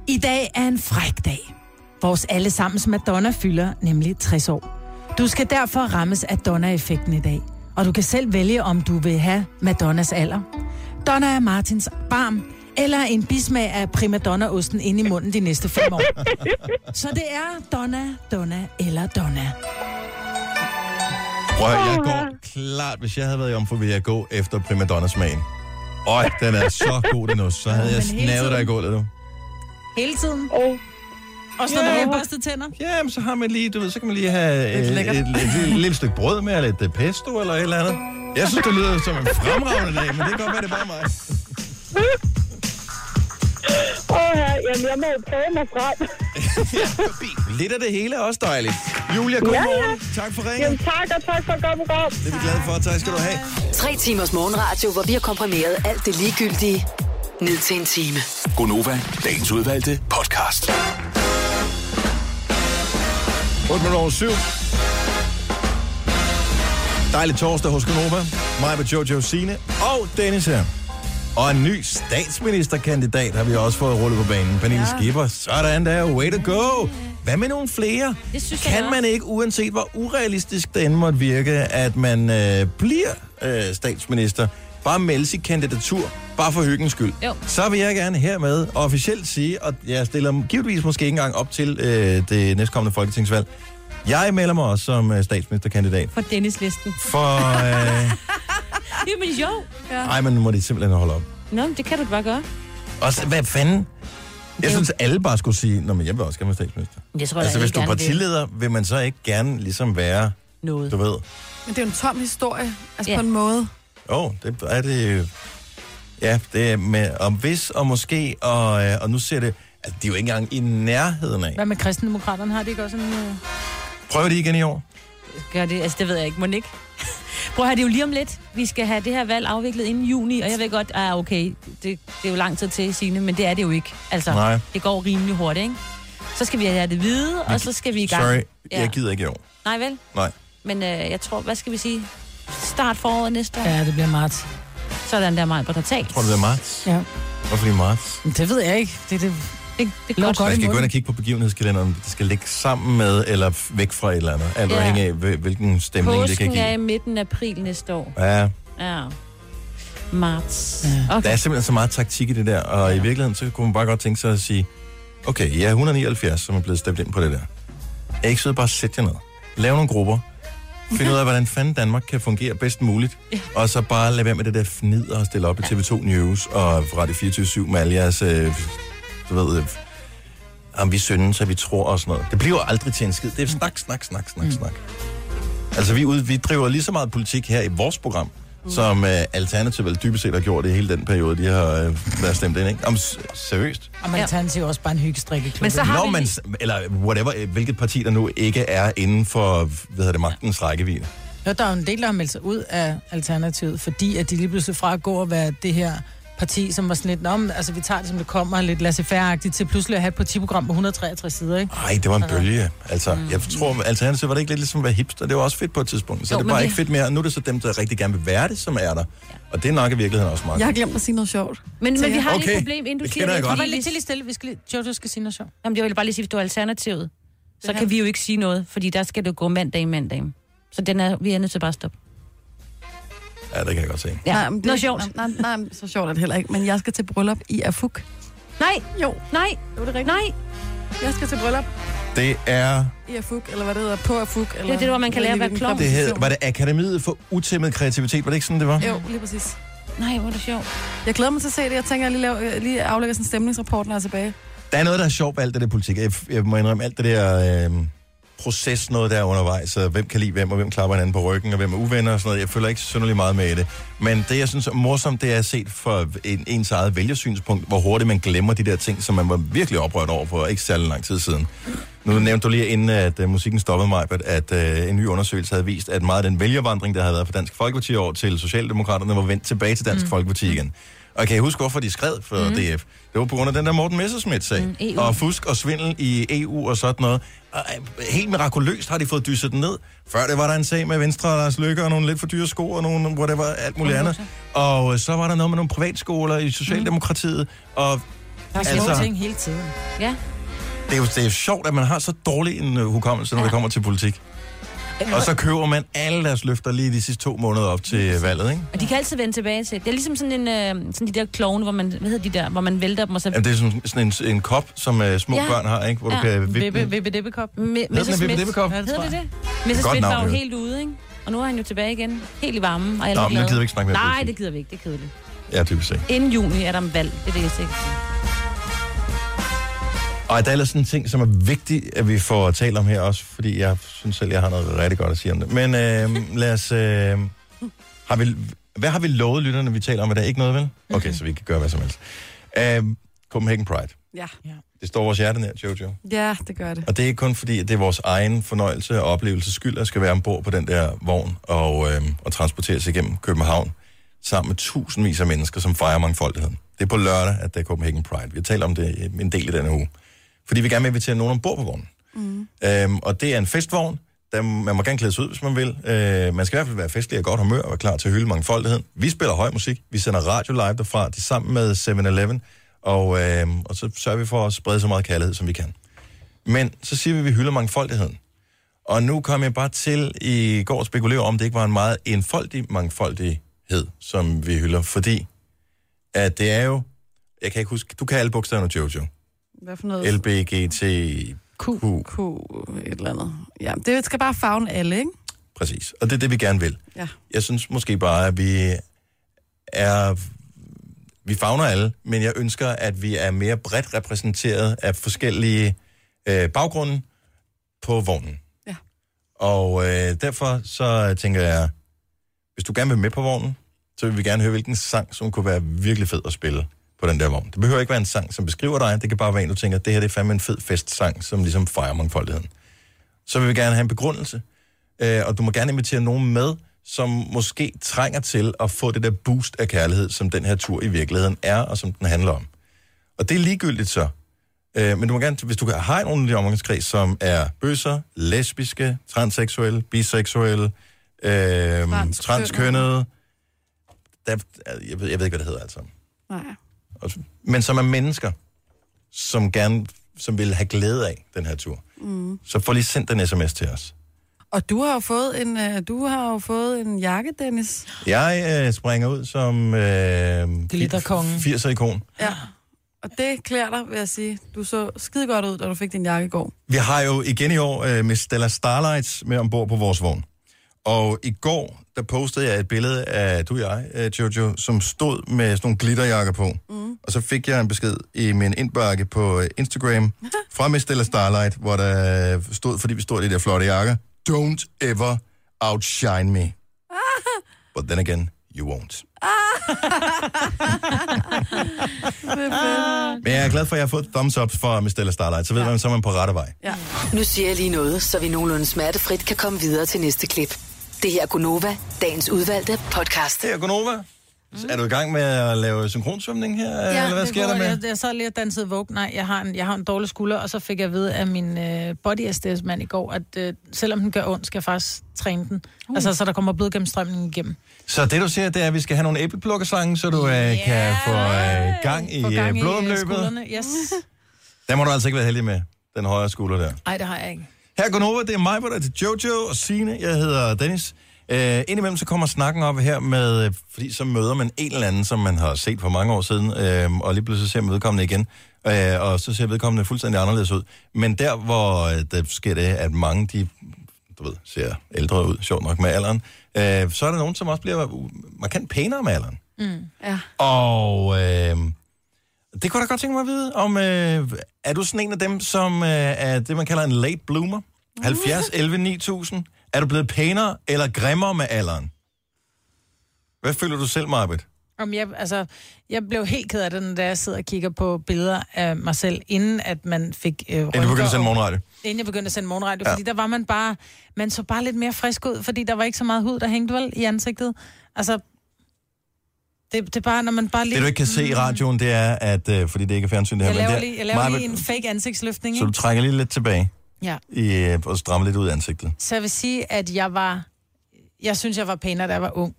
I dag er en fræk dag. Vores allesammens Madonna fylder nemlig 60 år. Du skal derfor rammes af Donna-effekten i dag. Og du kan selv vælge, om du vil have Madonnas alder. Donna er Martins barm, eller en bismag af primadonna-osten inde i munden de næste fem år. Så det er Donna, Donna eller Donna.
Prøv, at høre, jeg går klart, hvis jeg havde været jomfru, ville jeg gå efter primadonna-smagen. Øj, den er så god, den nu. Så havde jeg
Men hele
snavet dig i
tiden.
gulvet, du.
Hele tiden.
Og
Også når du har børstet tænder.
Jamen, så har man lige, du ved, så kan man lige have et,
Lidt
et, et,
lækkert.
et, lille- lille stykke brød med, eller lidt øh, pesto, eller et eller andet. Jeg synes, det lyder som en fremragende dag, men det kan godt være, det er bare mig.
åh, ja, jamen, jeg må jo prøve mig frem.
Lidt af det hele er også dejligt. Julia, god
Ja, ja.
morgen. Tak for ringen.
Jamen, tak, og tak for at komme op.
Det er vi glade for. Tak skal du have.
Tre timers morgenradio, hvor vi har komprimeret alt det ligegyldige ned til en time.
Gonova, dagens udvalgte podcast.
8 minutter over 7. Dejlig torsdag hos Konoba. Mig med Jojo Sine og Dennis her. Og en ny statsministerkandidat har vi også fået rullet på banen. Pernille ja. Skipper. Sådan der. Way to go. Hvad med nogle flere?
Det synes jeg
kan
også.
man ikke, uanset hvor urealistisk det end måtte virke, at man øh, bliver øh, statsminister, bare melde sit kandidatur, bare for hyggens skyld.
Jo.
Så vil jeg gerne hermed officielt sige, og jeg stiller givetvis måske ikke engang op til øh, det næstkommende folketingsvalg, jeg melder mig også som øh, statsministerkandidat.
For Dennis-listen.
For, øh,
Jamen jo.
ej, men nu må de simpelthen holde op.
Nå, men det kan du da bare gøre.
Og så, hvad fanden? Jeg synes, alle bare skulle sige, Nå, men jeg vil også gerne være statsminister.
Jeg tror,
Altså, hvis du er partileder, vil man så ikke gerne ligesom være,
Noget.
du ved,
Men det er jo en tom historie, altså
Ja.
ja. på en måde.
Åh, oh, det er det... Ja, det er med om hvis og måske, og, øh, og nu ser det... Altså, de er jo ikke engang i nærheden af.
Hvad med kristendemokraterne? Har de ikke også en... øh,
Prøv det igen i år.
Gør det, altså det ved jeg ikke, Monique. Prøv at have det er jo lige om lidt. Vi skal have det her valg afviklet inden juni, og jeg ved godt, ah, okay, det, det er jo lang tid til, Signe, men det er det jo ikke. Altså,
Nej.
det går rimelig hurtigt, ikke? Så skal vi have det hvide, og så skal vi i gang.
Sorry,
Ja.
jeg gider ikke i år.
Nej vel?
Nej.
Men øh, jeg tror, hvad skal vi sige? Start foråret næste år. Ja.
Ja, det bliver marts.
Sådan der meget, hvor der talt.
Tror du, det er marts?
Ja.
Hvorfor lige marts?
Det ved jeg ikke. Det, det,
det, det
lå
Man
godt i
skal gå ind og
munden.
kigge på begivenhedskalenderen, om det skal ligge sammen med, eller f- væk fra et eller andet. Alt
Ja.
afhængig af, hvil- hvilken stemning det kan
Påsken
give.
er i midten af april næste år.
Ja.
Ja. Marts.
Der
Okay.
er simpelthen så meget taktik i det der, og i virkeligheden, så kunne man bare godt tænke sig at sige, okay, jeg er 179, som er blevet stemt ind på det der. Jeg er ikke sød, bare sæt jer ned. Lav nogle grupper. Find ud af, hvordan fanden Danmark kan fungere bedst muligt. Og så bare lade være med det der fnid og stille op i TV2 News og Radio 24 med alle jeres, øh, du ved, øh, om vi synes, så vi tror og sådan noget. Det bliver aldrig til en skid. Det er snak, snak, snak, snak, snak. Altså, vi, er ude, vi driver lige så meget politik her i vores program, mm. som øh, Alternativ vel dybest set har gjort i hele den periode, de har øh, været stemt ind, ikke? Om, s- seriøst.
Og man tager til også bare en hyggestrikkeklub.
Men så har
Når
vi
man,
lige-
s- eller whatever, øh, hvilket parti der nu ikke er inden for, hvad hedder det, magtens rækkevidde.
Jo, der er jo en del, der har meldt sig ud af Alternativet, fordi at de lige pludselig fra at gå og være det her parti, som var sådan lidt, "Nå, men, altså vi tager det, som det kommer, lidt laissez-faire-agtigt, til pludselig at have et partiprogram på 163 sider, ikke?
Nej, det var en bølge. Altså,
Mm.
jeg tror, Alternativ var det ikke lidt ligesom at være hipster. Det var også fedt på et tidspunkt. Så
Jo,
jo, det er
men
bare
det-
ikke fedt mere. Nu er det så dem, der rigtig gerne vil være det, som er der. Og det er nok i virkeligheden også meget.
Jeg har glemt at sige noget sjovt.
Men, men vi har okay. lige
Okay,
et problem, inden du
det
siger
kender
det.
jeg godt.
fordi
Lidt
hvis-
til lige stille, vi skal lige... Jo, du skal sige noget sjovt.
Jamen, jeg vil bare lige sige, hvis du er alternativet, så kan vi jo ikke sige noget, fordi der skal det gå mandag i mandag. Så den er, vi er nødt til bare at stoppe.
Ja, det kan jeg godt se.
Ja.
Nej, men det er
Noget
ikke-
sjovt.
Nej, nej, nej, men så sjovt er det heller ikke. Men jeg skal til bryllup i Afuk.
Nej,
Jo,
nej,
det er det rigtigt.
nej.
Jeg skal til bryllup
Det er...
i Afuk, eller hvad det hedder, på Afuk. Eller
det, hvor man kan lære at være klovn.
Det hed, var det Akademiet for Utæmmet Kreativitet? Var det ikke sådan, det var?
Jo, lige præcis.
Nej, hvor er det sjovt.
Jeg glæder mig til at se det. Jeg tænker, jeg lige, laver, jeg lige aflægger sådan en stemningsrapport, når jeg er tilbage.
Der er noget, der er sjovt ved alt det der politik. Jeg, jeg må indrømme alt det der øh, proces, noget der er undervejs. Og hvem kan lide hvem, og hvem klapper hinanden på ryggen, og hvem er uvenner og sådan noget. Jeg følger ikke synderlig meget med i det. Men det, jeg synes er morsomt, det er set fra en, ens eget vælgersynspunkt, hvor hurtigt man glemmer de der ting, som man var virkelig oprørt over for ikke særlig lang tid siden. Nu nævnte du lige inden, at uh, musikken stoppede mig, at uh, en ny undersøgelse havde vist, at meget af den vælgervandring, der havde været fra Dansk Folkeparti over til Socialdemokraterne, var vendt tilbage til Dansk mm. Folkeparti igen. Og kan I huske, hvorfor de skred for mm. E DF? Det var på grund af den der Morten Messerschmidt-sag.
Mm, EU.
og fusk og svindel i EU og sådan noget. Og, øh, helt mirakuløst har de fået dysset den ned. Før det var der en sag med Venstre og Lars Løkke og nogle lidt for dyre sko og nogle whatever, alt muligt andet. Og øh, så var der noget med nogle privatskoler i Socialdemokratiet. Og
Der er
små Altså-
altså...
ting
ting hele tiden.
Ja.
det er jo det er sjovt, at man har så dårlig en øh, hukommelse, når ja. det kommer til politik. Og så køber man alle deres løfter lige de sidste to måneder op til øh, valget, ikke?
Og de kan altid vende tilbage til. Det er ligesom sådan en øh, sådan de der klovne, hvor man, hvad hedder de der, hvor man vælter dem og så
Jamen, det er sådan, sådan en, en kop, som uh, små
Ja.
ja. børn har, ikke? Hvor ja.
Ja.
du kan vippe
Vippe,
den.
vippe, deppekop.
Me-
Vippe
Messerschmidt.
Deppekop?
Ja, det tror
Hedder det det?
Godt
Messerschmidt
navn,
var jo
jo.
helt ude, ikke? Og nu er han jo tilbage igen. Helt i varmen. Og alle
Nå,
er
men nu
glade.
gider vi ikke snakke mere
Nej,
politik.
det gider vi ikke. Det er kedeligt.
Ja, typisk set.
Inden juni er der en valg. Det er det, jeg sikkert.
Og der er ellers sådan en ting, som er vigtig, at vi får talt om her også, fordi jeg synes selv, jeg har noget rigtig godt at sige om det. Men øh, lad os... Øh, har vi, hvad har vi lovet lytterne, vi taler om? Er der ikke noget, vel? Okay, så vi kan gøre hvad som helst. Øh, Copenhagen Pride.
Ja.
Det står vores hjerte nær, Jojo.
Ja, det gør det.
Og det er ikke kun fordi, at det er vores egen fornøjelse og oplevelse skyld, at skal være ombord på den der vogn og, øh, og transporteres igennem København sammen med tusindvis af mennesker, som fejrer mangfoldigheden. Det er på lørdag, at der er Copenhagen Pride. Vi har talt om det øh, en del i denne uge. Fordi vi gerne vil invitere nogen ombord på vognen. Mm. Øhm, og det er en festvogn. Der, man må gerne klæde sig ud, hvis man vil. Øh, man skal i hvert fald være festlig og godt humør og være klar til at hylde mangfoldigheden. Vi spiller høj musik. Vi sender radio live derfra. Det er sammen med 7-Eleven. Og, øh, og så sørger vi for at sprede så meget kærlighed, som vi kan. Men så siger vi, at vi hylder mangfoldigheden. Og nu kom jeg bare til i går at spekulere om, det ikke var en meget enfoldig mangfoldighed, som vi hylder. Fordi at det er jo... Jeg kan ikke huske... Du kan alle bogstaverne, Jojo.
Hvad for noget?
LBGT...
Q.
Q.
Q. Et eller andet. Ja, det skal bare fagne alle, ikke?
Præcis. Og det er det, vi gerne vil.
Ja.
Jeg synes måske bare, at vi er... Vi fagner alle, men jeg ønsker, at vi er mere bredt repræsenteret af forskellige øh, baggrunde på vognen.
Ja.
Og øh, derfor så tænker jeg, hvis du gerne vil med på vognen, så vil vi gerne høre, hvilken sang, som kunne være virkelig fed at spille på den der vogn. Det behøver ikke være en sang, som beskriver dig. Det kan bare være en, du tænker, det her det er fandme en fed festsang, som ligesom fejrer mangfoldigheden. Så vil vi gerne have en begrundelse. Øh, og du må gerne invitere nogen med, som måske trænger til at få det der boost af kærlighed, som den her tur i virkeligheden er, og som den handler om. Og det er ligegyldigt så. Øh, men du må gerne, hvis du har en ordentlig omgangskreds, som er bøsser, lesbiske, transseksuelle, biseksuelle, øh, transkønnede, der, jeg, ved, jeg ved ikke, hvad det hedder altså.
Nej.
Men som er mennesker, som gerne som vil have glæde af den her tur.
Mm.
Så få lige sendt en sms til os.
Og du har jo fået en, øh, du har jo fået en jakke, Dennis.
Jeg øh, springer ud som øh,
Glitterkongen.
80'er-ikon.
Ja. Og det klæder dig, vil jeg sige. Du så skide godt ud, da du fik din jakke i går.
Vi har jo igen i år øh, med Stella Starlights med ombord på vores vogn. Og i går, der postede jeg et billede af du og jeg, øh, Jojo, som stod med sådan nogle glitterjakker på. Mm. Og så fik jeg en besked i min indbakke på øh, Instagram fra Miss Stella Starlight, hvor der øh, stod, fordi vi stod i de der flotte jakker, Don't ever outshine me. But then again, you won't. Men jeg er glad for, at jeg har fået et thumbs up fra Miss Stella Starlight, så ved man, så er man på rette vej.
Ja.
Nu siger jeg lige noget, så vi nogenlunde smertefrit kan komme videre til næste klip. Det her er Gunova, dagens udvalgte podcast.
Det er Gunova. Mm. Er du i gang med at lave synkronsvømning her, ja, eller hvad
det
sker der
går.
med?
Jeg, jeg sad lige og dansede Vogue. Nej, jeg har, en, jeg har en dårlig skulder, og så fik jeg ved af min øh, body SDS mand i går, at øh, selvom den gør ondt, skal jeg faktisk træne den. Uh. Altså, så der kommer blodgennemstrømningen igennem.
Så det, du siger, det er, at vi skal have nogle æbleplukkersange, så du øh, kan få øh, gang i
Få gang
øh,
i, øh,
blodomløbet.
skuldrene. Yes.
Den må du altså ikke være heldig med, den højre skulder der.
Nej, det har jeg ikke.
Her er Gunova, det er mig, hvor der er til Jojo og Sine. Jeg hedder Dennis. Øh, indimellem så kommer snakken op her med, øh, fordi så møder man en eller anden, som man har set for mange år siden, øh, og lige pludselig ser man vedkommende igen, øh, og så ser vedkommende fuldstændig anderledes ud. Men der, hvor øh, der sker det, at mange, de du ved, ser ældre ud, sjovt nok med alderen, øh, så er der nogen, som også bliver u- markant pænere med alderen.
Mm. Ja.
Og øh, det kunne jeg da godt tænke mig at vide, om øh, er du sådan en af dem, som øh, er det, man kalder en late bloomer?
Mm.
70, 11, 9000. Er du blevet pænere eller grimmere med alderen? Hvad føler du selv, Marbet?
Om jeg, altså, jeg blev helt ked af det, da jeg sidder og kigger på billeder af mig selv, inden at man fik øh,
Inden du begyndte at sende
og-
morgenradio.
Inden jeg begyndte at sende morgenradio,
Ja.
ja. fordi der var man bare, man så bare lidt mere frisk ud, fordi der var ikke så meget hud, der hængte vel i ansigtet. Altså, det, det er bare, når man bare lige...
Det, du ikke kan se i radioen, det er, at... Øh, fordi det ikke er fjernsyn, det her.
Mm. Jeg laver,
det er,
lige, jeg laver lige
Maj-Brit,
en fake ansigtsløftning,
Så
ikke?
du trækker lige lidt tilbage
Ja.
i, øh, og strammer lidt ud i ansigtet.
Så jeg vil sige, at jeg var... Jeg synes, jeg var pænere, da jeg var ung.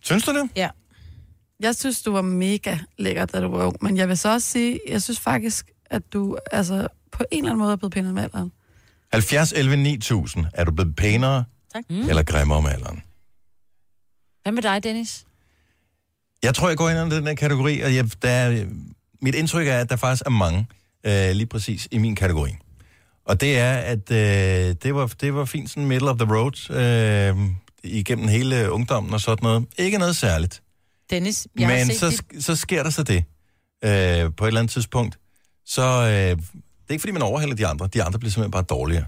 Synes du det?
Ja.
Jeg synes, du var mega lækker, da du var ung. Men jeg vil så også sige, jeg synes faktisk, at du altså, på en eller anden måde er blevet pænere med alderen.
70, 11, 9000. Er du blevet pænere
Tak.
mm. eller grimmere med alderen?
Hvad med dig, Dennis?
Jeg tror, jeg går ind under den her kategori, og jeg, der, er- mit indtryk er, at der faktisk er mange øh, lige præcis i min kategori. Og det er, at øh, det, var, det var fint sådan middle of the road øh, igennem hele ungdommen og sådan noget. Ikke noget særligt.
Dennis, jeg har
Men
set
så,
dit-
sk- så sker der så det øh, på et eller andet tidspunkt. Så øh, det er ikke, fordi man overhælder de andre. De andre bliver simpelthen bare dårligere.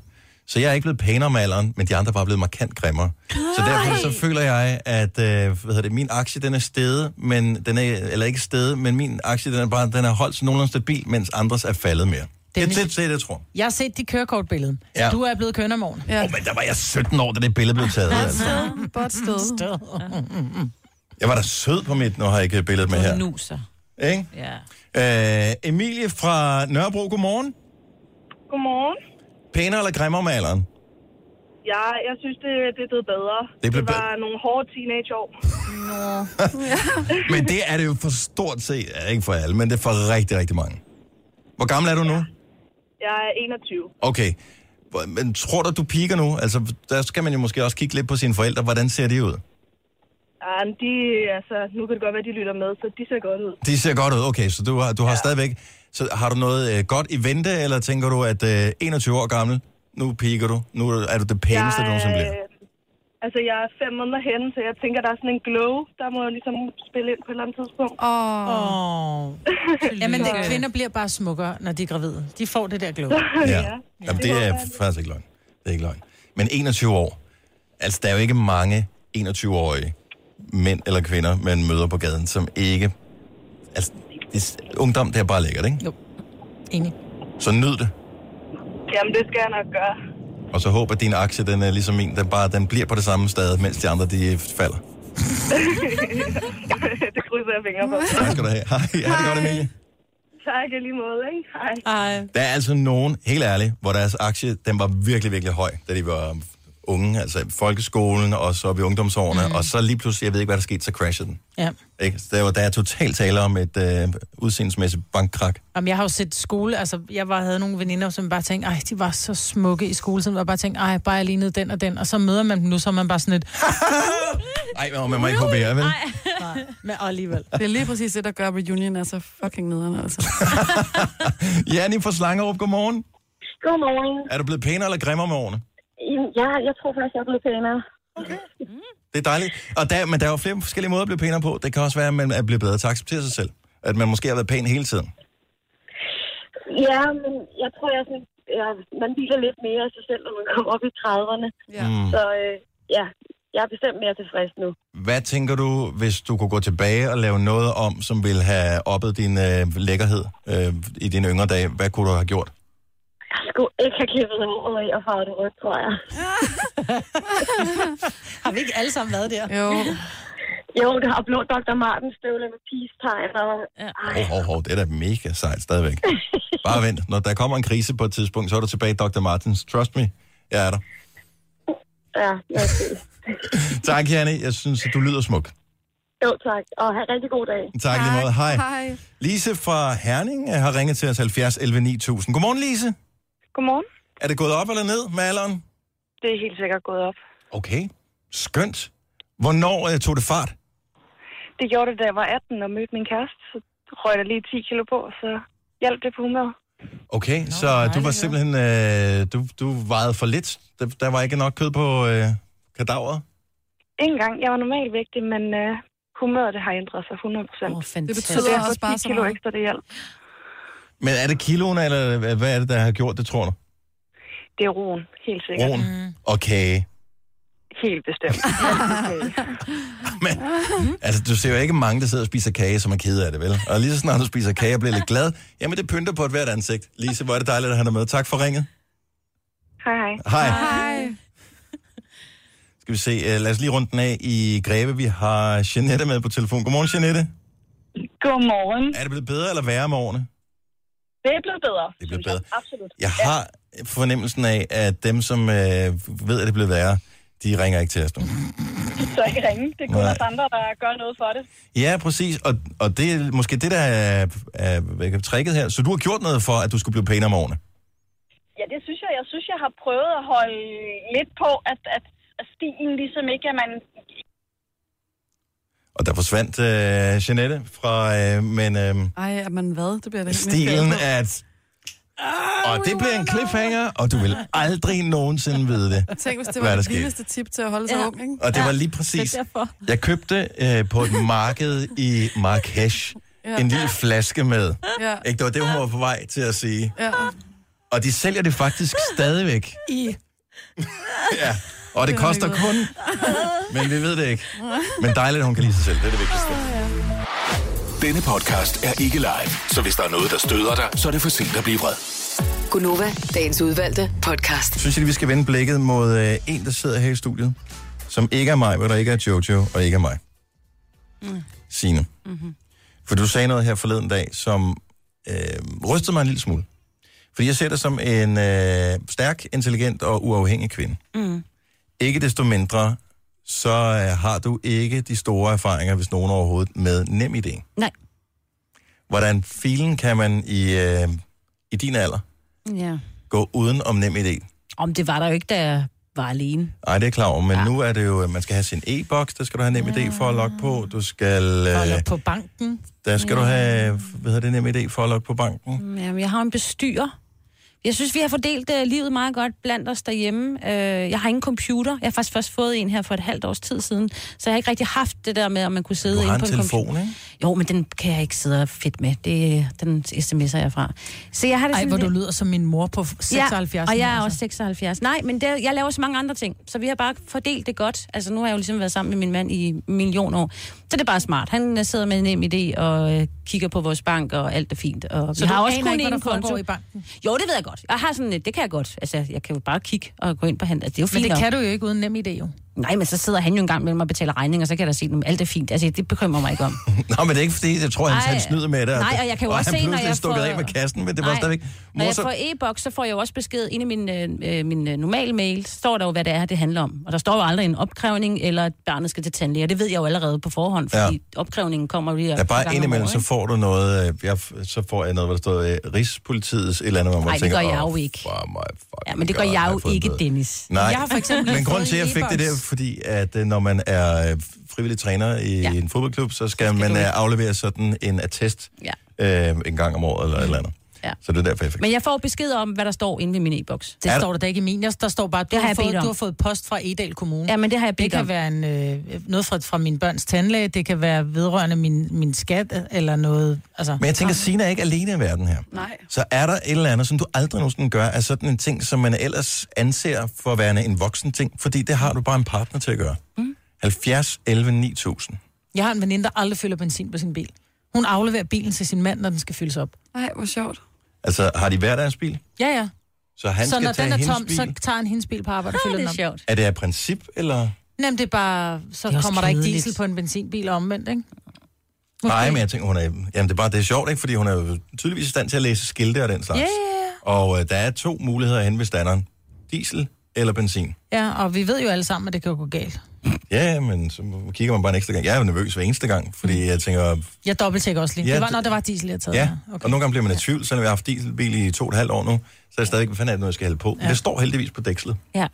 Så jeg er ikke blevet pænere med alderen, men de andre er bare blevet markant grimmere. Så derfor så føler jeg, at øh, hvad hedder det, min aktie den er steget, men den er, eller ikke steget, men min aktie den er, bare, den er holdt sådan nogenlunde stabil, mens andres er faldet mere. Det er
Dennis-
det, det, det, jeg tror.
Jeg har set dit kørekortbillede.
Ja.
Ja. Du er blevet kønner om morgenen.
Ja. Oh, men der var jeg 17 år, da det billede blev taget. Altså.
Godt sted.
Jeg var da sød på mit, nu har jeg ikke billedet med her.
Nu så.
Ikke?
Ja.
Øh, Emilie fra Nørrebro, godmorgen.
Godmorgen.
Pænere eller grimmere med alderen?
Ja, jeg synes, det, det er blevet bedre.
Det er blevet
det var nogle hårde teenageår. Nå.
Men det er det jo for stort set, ja, ikke for alle, men det er for rigtig, rigtig mange. Hvor gammel er du nu?
jeg er 21.
Okay. Hvor- Men tror du, du piker nu? Altså, der skal man jo måske også kigge lidt på sine forældre. Hvordan ser de ud?
Ja, men de, altså, nu kan det godt være, de lytter med, så de ser godt ud.
De ser godt ud. Okay, så du har, du har ja. stadigvæk... Så har du noget øh, godt i vente, eller tænker du, at øh, 21 år gammel, nu piker du, nu er du det
jeg,
pæneste, du nogensinde bliver?
øh, Altså, jeg er fem måneder henne, så jeg tænker, der er sådan en glow, der må jo ligesom spille ind på et eller andet tidspunkt.
Åh.
Oh. Jamen, det, kvinder bliver bare smukkere, når de er gravide. De får det der glow.
Ja. Jamen, det er faktisk ikke løgn. Det er ikke løgn. Men 21 år. Altså, der er jo ikke mange 21-årige mænd eller kvinder, man møder på gaden, som ikke... Altså, det, ungdom, det er bare lækkert, ikke?
Jo. Enig.
Så nyd det,
Jamen, det skal jeg nok gøre.
og så håb, at din aktie, den er ligesom min, den, bare, den bliver på det samme sted, mens de andre, de falder.
det krydser jeg fingre for.
Tak skal du have. Hej, ja, det er godt, Emilie.
Tak i lige måde, ikke? Hej.
Hej.
Der er altså nogen, helt ærligt, hvor deres aktie, den var virkelig, virkelig høj, da de var unge, altså i folkeskolen og så op i ungdomsårene, mm.
Mm.
og så lige pludselig, jeg ved ikke, hvad der skete, så crashede den.
Ja.
Ikke? Så der, var, der er totalt tale om et øh, udseendemæssigt bankkrak.
Jamen, jeg har jo set skole, altså jeg var, havde nogle veninder, som bare tænkte, ej, de var så smukke i skole, som jeg bare tænkte, ej, bare jeg lignede den og den, og så møder man dem nu, så er man bare sådan lidt,
Ej, men man må ikke hovere, vel?
nej, men alligevel.
Det er lige præcis det, der gør reunion er så fucking nederen, altså.
Janni fra Slangerup, godmorgen.
Godmorgen.
Er du blevet pænere eller grimmere med årene?
Jamen, Jeg, jeg tror faktisk, jeg er blevet pænere. Okay.
Det er dejligt. Og der, men der er jo flere forskellige måder at blive pænere på. Det kan også være, at man er blevet bedre til at acceptere sig selv. At man måske har været pæn hele tiden.
Ja, men jeg tror, jeg er sådan, ja, man hviler lidt mere af sig selv, når man kommer op i 30'erne.
Ja. Mm.
Så øh, ja, jeg er bestemt mere tilfreds nu.
Hvad tænker du, hvis du kunne gå tilbage og lave noget om, som ville have oppet din øh, lækkerhed øh, i dine yngre dage? Hvad kunne du have gjort?
Jeg skulle ikke have klippet håret af og farvet det rødt, tror jeg.
har vi ikke alle sammen været der?
Jo.
Jo, det har blå Dr. Martens støvle med peace-tegn. Og... Ja.
Hov, hov, hov, det er da mega sejt stadigvæk. Bare vent. Når der kommer en krise på et tidspunkt, så er du tilbage i Dr. Martens. Trust me, jeg er der.
ja, ja, det.
Tak, Janne. Jeg synes, at du lyder smuk.
Jo, tak. Og have en rigtig god dag.
Tak i lige måde. Hej.
Hej.
Lise fra Herning øh, har ringet til os 70 11 9000. Godmorgen, Lise.
Godmorgen.
Er det gået op eller ned med alderen?
Det er helt sikkert gået op.
Okay. Skønt. Hvornår øh, tog det fart?
Det gjorde det, da jeg var 18 og mødte min kæreste. Så røg der lige 10 kilo på, så hjalp det på humøret.
Okay, Nå, så du var simpelthen... Øh, du, du vejede for lidt. Der, der var ikke nok kød på øh, kadaveret.
Ingen gang. Jeg var normalvægtig, men uh, humøret det har ændret sig 100 procent. Oh,
det
betyder så derfor også bare 10 kilo
meget.
ekstra, det hjalp.
Men er det kiloen, eller hva- hvad er det, der har gjort det, tror du?
Det er roen, helt sikkert.
Broen mm. og kage.
Helt bestemt.
Altså, du ser jo ikke mange, der sidder og spiser kage, som er kede af det, vel? Og lige så snart du spiser kage og bliver lidt glad, jamen det pynter på et hvert ansigt. Lise, hvor er det dejligt at have dig med. Tak for ringet.
hej, hej.
Hej.
Hej.
Skal vi se, øh, lad os lige runde den af i Greve. Vi har Jeanette med på telefon. Godmorgen, Jeanette.
Godmorgen.
Er det blevet bedre eller værre med årene?
Det er blevet bedre.
Det er blevet bedre.
Absolut.
Jeg har fornemmelsen af, at dem, som øh, ved, at det er blevet værre, de ringer ikke til os nu.
Så ikke ringe. Det er kun
Nej.
os andre, der gør noget for det.
Ja, præcis. Og, og det er måske det, der er, er, er tricket her. Så du har gjort noget for, at du skulle blive pænere om årene?
Ja, det synes jeg. Jeg synes, jeg har prøvet at holde lidt på, at, at, at stilen ligesom ikke, at man...
Og der forsvandt øh, Jeanette fra, øh, men øh,
Ej, er man hvad? Det bliver det
stilen at... Og det bliver en cliffhanger, og du vil aldrig nogensinde vide det.
Tænk, hvis det
hvad
var
der
det
skete.
vildeste tip til at holde sig ja. ung, ikke?
Og det var lige præcis. Jeg købte øh, på et marked i Marrakesh
Ja.
en lille flaske med.
Ja.
Ikke, det var det, hun var på vej til at sige.
Ja.
Og de sælger det faktisk stadigvæk.
I.
Ja. Og det koster kun, men vi ved det ikke. Men dejligt, at hun kan lide sig selv. Det er det vigtigste.
Denne podcast er ikke live, så hvis der er noget, der støder dig, så er det for sent at blive vred.
Gunova, dagens udvalgte podcast.
Synes jeg, at vi skal vende blikket mod øh, en, der sidder her i studiet, som ikke er mig, hvor der ikke er Jojo, og ikke er mig.
Mm.
Signe. Mm-hmm. For du sagde noget her forleden dag, som øh, rystede mig en lille smule. Fordi jeg ser dig som en øh, stærk, intelligent og uafhængig kvinde.
Mm.
Ikke desto mindre, så øh, har du ikke de store erfaringer, hvis nogen overhovedet, med nem idé.
Nej.
Hvordan filen kan man i, øh, i din alder
Ja.
gå uden om nem idé?
Om det var der jo ikke, da jeg var alene.
Nej, det er jeg klar over, men ja. nu er det jo, at man skal have sin e-boks, der skal du have nem idé for at logge på. Du skal, øh,
Eller på banken.
der skal du have, hvad hedder det, nem idé for at logge på banken.
Mm, Jamen, jeg har en bestyrer. Jeg synes, vi har fordelt uh, livet meget godt blandt os derhjemme. Uh, jeg har ingen computer. Jeg har faktisk først fået en her for et halvt års tid siden. Så jeg har ikke rigtig haft det der med, om man kunne sidde
Du har
inde
en
på en
telefon,
computer.
ikke?
Jo, men den kan jeg ikke sidde og fedt med. Det, den sms'er jeg fra. Så jeg har det
Ej,
sådan
hvor
lidt-
du lyder som min mor på 76.
Ja, og jeg er også 76. Nej, men det, jeg laver så mange andre ting, så vi har bare fordelt det godt. Altså, nu har jeg jo ligesom været sammen med min mand i millioner år. Så det er bare smart. Han øh, sidder med en nem idé og øh, kigger på vores bank, og alt er fint. Og
Så
vi
du
har også
aner
kun
ikke, hvad
én
der foregår
konto.
i banken?
Jo, øh, det ved jeg godt. Jeg har sådan et, det kan jeg godt. Altså, jeg kan jo bare kigge og gå ind på handel. Altså, det er jo
Men
fint
det
nok.
kan du jo ikke uden nem idé, jo.
Nej, men så sidder han jo engang mellem og betaler regninger, så kan jeg da se dem. Alt er fint. Altså, det bekymrer mig ikke om.
Nå, men det er ikke fordi, jeg tror, han,
Ej.
han snyder med det.
Nej, og jeg kan jo også
han
se, når
pludselig
jeg
stukket
får-
af med kassen, men det var
Nej.
stadigvæk...
Når
Mor,
jeg
så-
får e-boks, så får jeg jo også besked ind i min, øh, øh, min øh, normale mail. Så står der jo, hvad det er, det handler om. Og der står jo aldrig en opkrævning, eller at barnet skal til tandlæge. Og Det ved jeg jo allerede på forhånd, fordi ja. opkrævningen kommer lige
Der er bare indimellem, så får du noget, øh, jeg, f- så får jeg noget, hvor der står øh, Rigspolitiets et eller andet, hvor man
Nej, det
tænker,
gør jeg
"Åh,
jo ikke.
for mig, for
Ja, men det gør jeg jo ikke, Dennis.
Nej,
Jeg har for eksempel
men
lige
grunden
fået
til, at jeg
en
fik det der,
e-boks.
fordi at øh, når man er øh, frivillig træner i ja. en fodboldklub, så skal, skal man øh, aflevere sådan en attest ja. øh, en gang om året eller et eller andet.
Ja.
Så det er derfor, jeg fik
Men jeg får besked om, hvad der står inde ved min e-boks.
Det Er der- står
der da ikke i min. Der står bare, du,
det har
har
jeg
fået,
bedt om.
du har fået post fra Edal Kommune.
Ja, men det har jeg bedt
Det kan
om.
være en, øh, noget fra, fra min børns tandlæge, det kan være vedrørende min, min skat, øh, eller noget. Altså,
Men jeg tænker, Sina er ikke alene i verden her.
Nej.
Så er der et eller andet, som du aldrig nogensinde gør, af sådan en ting, som man ellers anser for at være en voksen ting, fordi det har du bare en partner til at gøre. Mm. 70, 11, 9000.
Jeg har en veninde, der aldrig fylder benzin på sin bil. Hun afleverer bilen til sin mand, når den skal fyldes op.
Nej, hvor sjovt.
Altså, har de hver deres bil?
Ja, ja.
Så han
så
skal
når
tage
den er
hendes
tom,
bil?
så tager han hendes bil på arbejde og
Ah,
fylder
det
den
er
op.
sjovt.
Er det af princip, eller?
Jamen, det er bare, så
Det er også
kommer der ikke
kedeligt.
diesel på en benzinbil og omvendt, ikke?
Okay. Nej, men jeg tænker, hun er... Jamen, det er bare det er sjovt, ikke? Fordi hun er jo tydeligvis i stand til at læse skilte og den slags.
Ja,
Og øh, der er to muligheder hen ved standeren. Diesel eller benzin.
Ja, og vi ved jo alle sammen, at det kan jo gå galt.
Ja, men så kigger man bare en ekstra gang. Jeg er jo nervøs hver eneste gang,
Mm.
fordi jeg tænker,
Jeg dobbelttjekker også lige.
Ja,
Ja, det var,
det-
når der var diesel, jeg taget.
Ja,
her.
okay. og nogle gange bliver man i tvivl, selvom jeg har haft dieselbil i to og et halvt år nu, så er det stadig, hvad fanden er det nu, jeg skal hælde på? Ja.
Ja.
Det står heldigvis på dækslet.
Ja.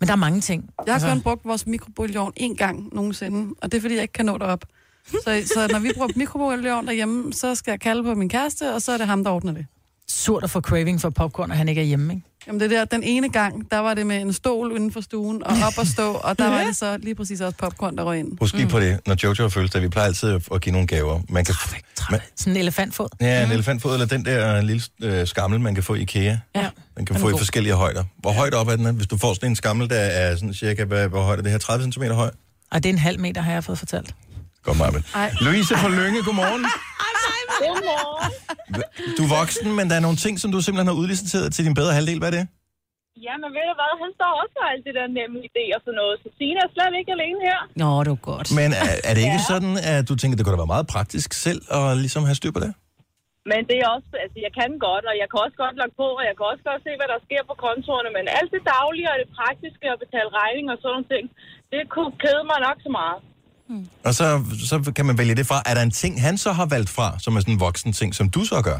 Men der er mange ting.
Jeg har
Altså-
kun brugt vores mikrobølgeovn én gang nogensinde, og det er, fordi jeg ikke kan nå derop. Så, så når vi bruger mikrobølgeovn derhjemme, så skal jeg kalde på min kæreste, og så er det ham, der ordner det.
Surt at få craving for popcorn, og han ikke er hjemme, ikke?
Jamen det der, den ene gang, der var det med en stol uden for stuen, og op og stå, og der var det så lige præcis også popcorn, der røg ind.
Husk lige mm. på det, når Jojo har følelse, vi plejer altid at give nogle gaver. Man kan, man,
Sådan en elefantfod.
ja, en elefantfod, eller den der lille øh, skammel, man kan få i IKEA.
Mhm. Ja.
Den
Den
kan
er
få i
god.
forskellige højder. Hvor højt op er den? Hvis du får sådan en skammel, der er sådan cirka, hvad, hvor højt er det her? 30 cm høj?
Og det er en halv meter, har jeg fået fortalt.
Godt, Marvind.
Ej.
Louise fra Lønge, godmorgen.
Godmorgen.
Du er voksen, men der er nogle ting, som du simpelthen har udliciteret til din bedre halvdel. Hvad er det?
Ja, men ved du hvad, han står også for alt det der nemme idé og sådan noget, så Sina er slet ikke alene her.
Nå, det var godt.
Men er, er det ikke ja. sådan, at du tænker, det kunne da være meget praktisk selv at ligesom have styr på det?
Men det er også, altså jeg kan godt, og jeg kan også godt logge på, og jeg kan også godt se, hvad der sker på kontorerne, men alt det daglige og det praktiske og betale regninger og sådan nogle ting, det kunne kede mig nok så meget.
Og så, så kan man vælge det fra. Er der en ting, han så har valgt fra, som er sådan en voksen ting, som du så gør?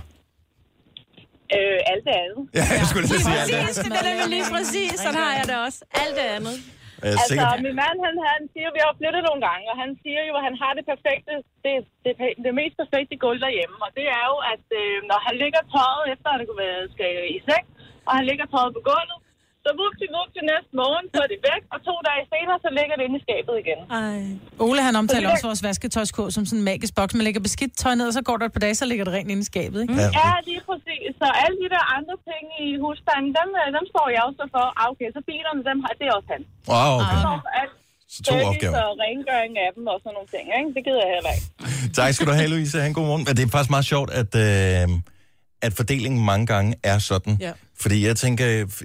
Øh, alt det andet.
Ja, jeg skulle lige sige alt det.
Præcis, det er nemlig lige præcis. Sådan har jeg det også. Alt det andet.
Jeg er
altså,
sikker,
min mand, han, han siger, vi har jo flyttet nogle gange, og han siger jo, at han har det perfekte, det, det, det mest perfekte gulv derhjemme. Og det er jo, at øh, når han ligger tøjet, efter at han skal i seng, og han ligger tøjet på gulvet, så vupti vupti næste morgen, så er det væk, og to dage senere, så ligger det inde i skabet igen.
Ej.
Ole, han omtaler også vores vasketøjskål som sådan en magisk boks. Man lægger beskidt tøj ned, og så går der et par dage, så ligger det rent inde i skabet,
Mm.
ikke?
Ja, det er præcis. Så alle de der andre ting i husstanden, dem, øh, dem står jeg også for. Ah, okay, så bilerne, dem har, det er også han.
Wow,
Ah.
Han
okay.
står for alt.
Så to
Service
opgaver.
Og rengøring af dem og sådan nogle ting, ikke? Det gider jeg heller ikke.
Tak skal du have, Louise. Han, god morgen. Men Det er faktisk meget sjovt, at, øh, at fordelingen mange gange er sådan.
Ja.
Fordi jeg tænker,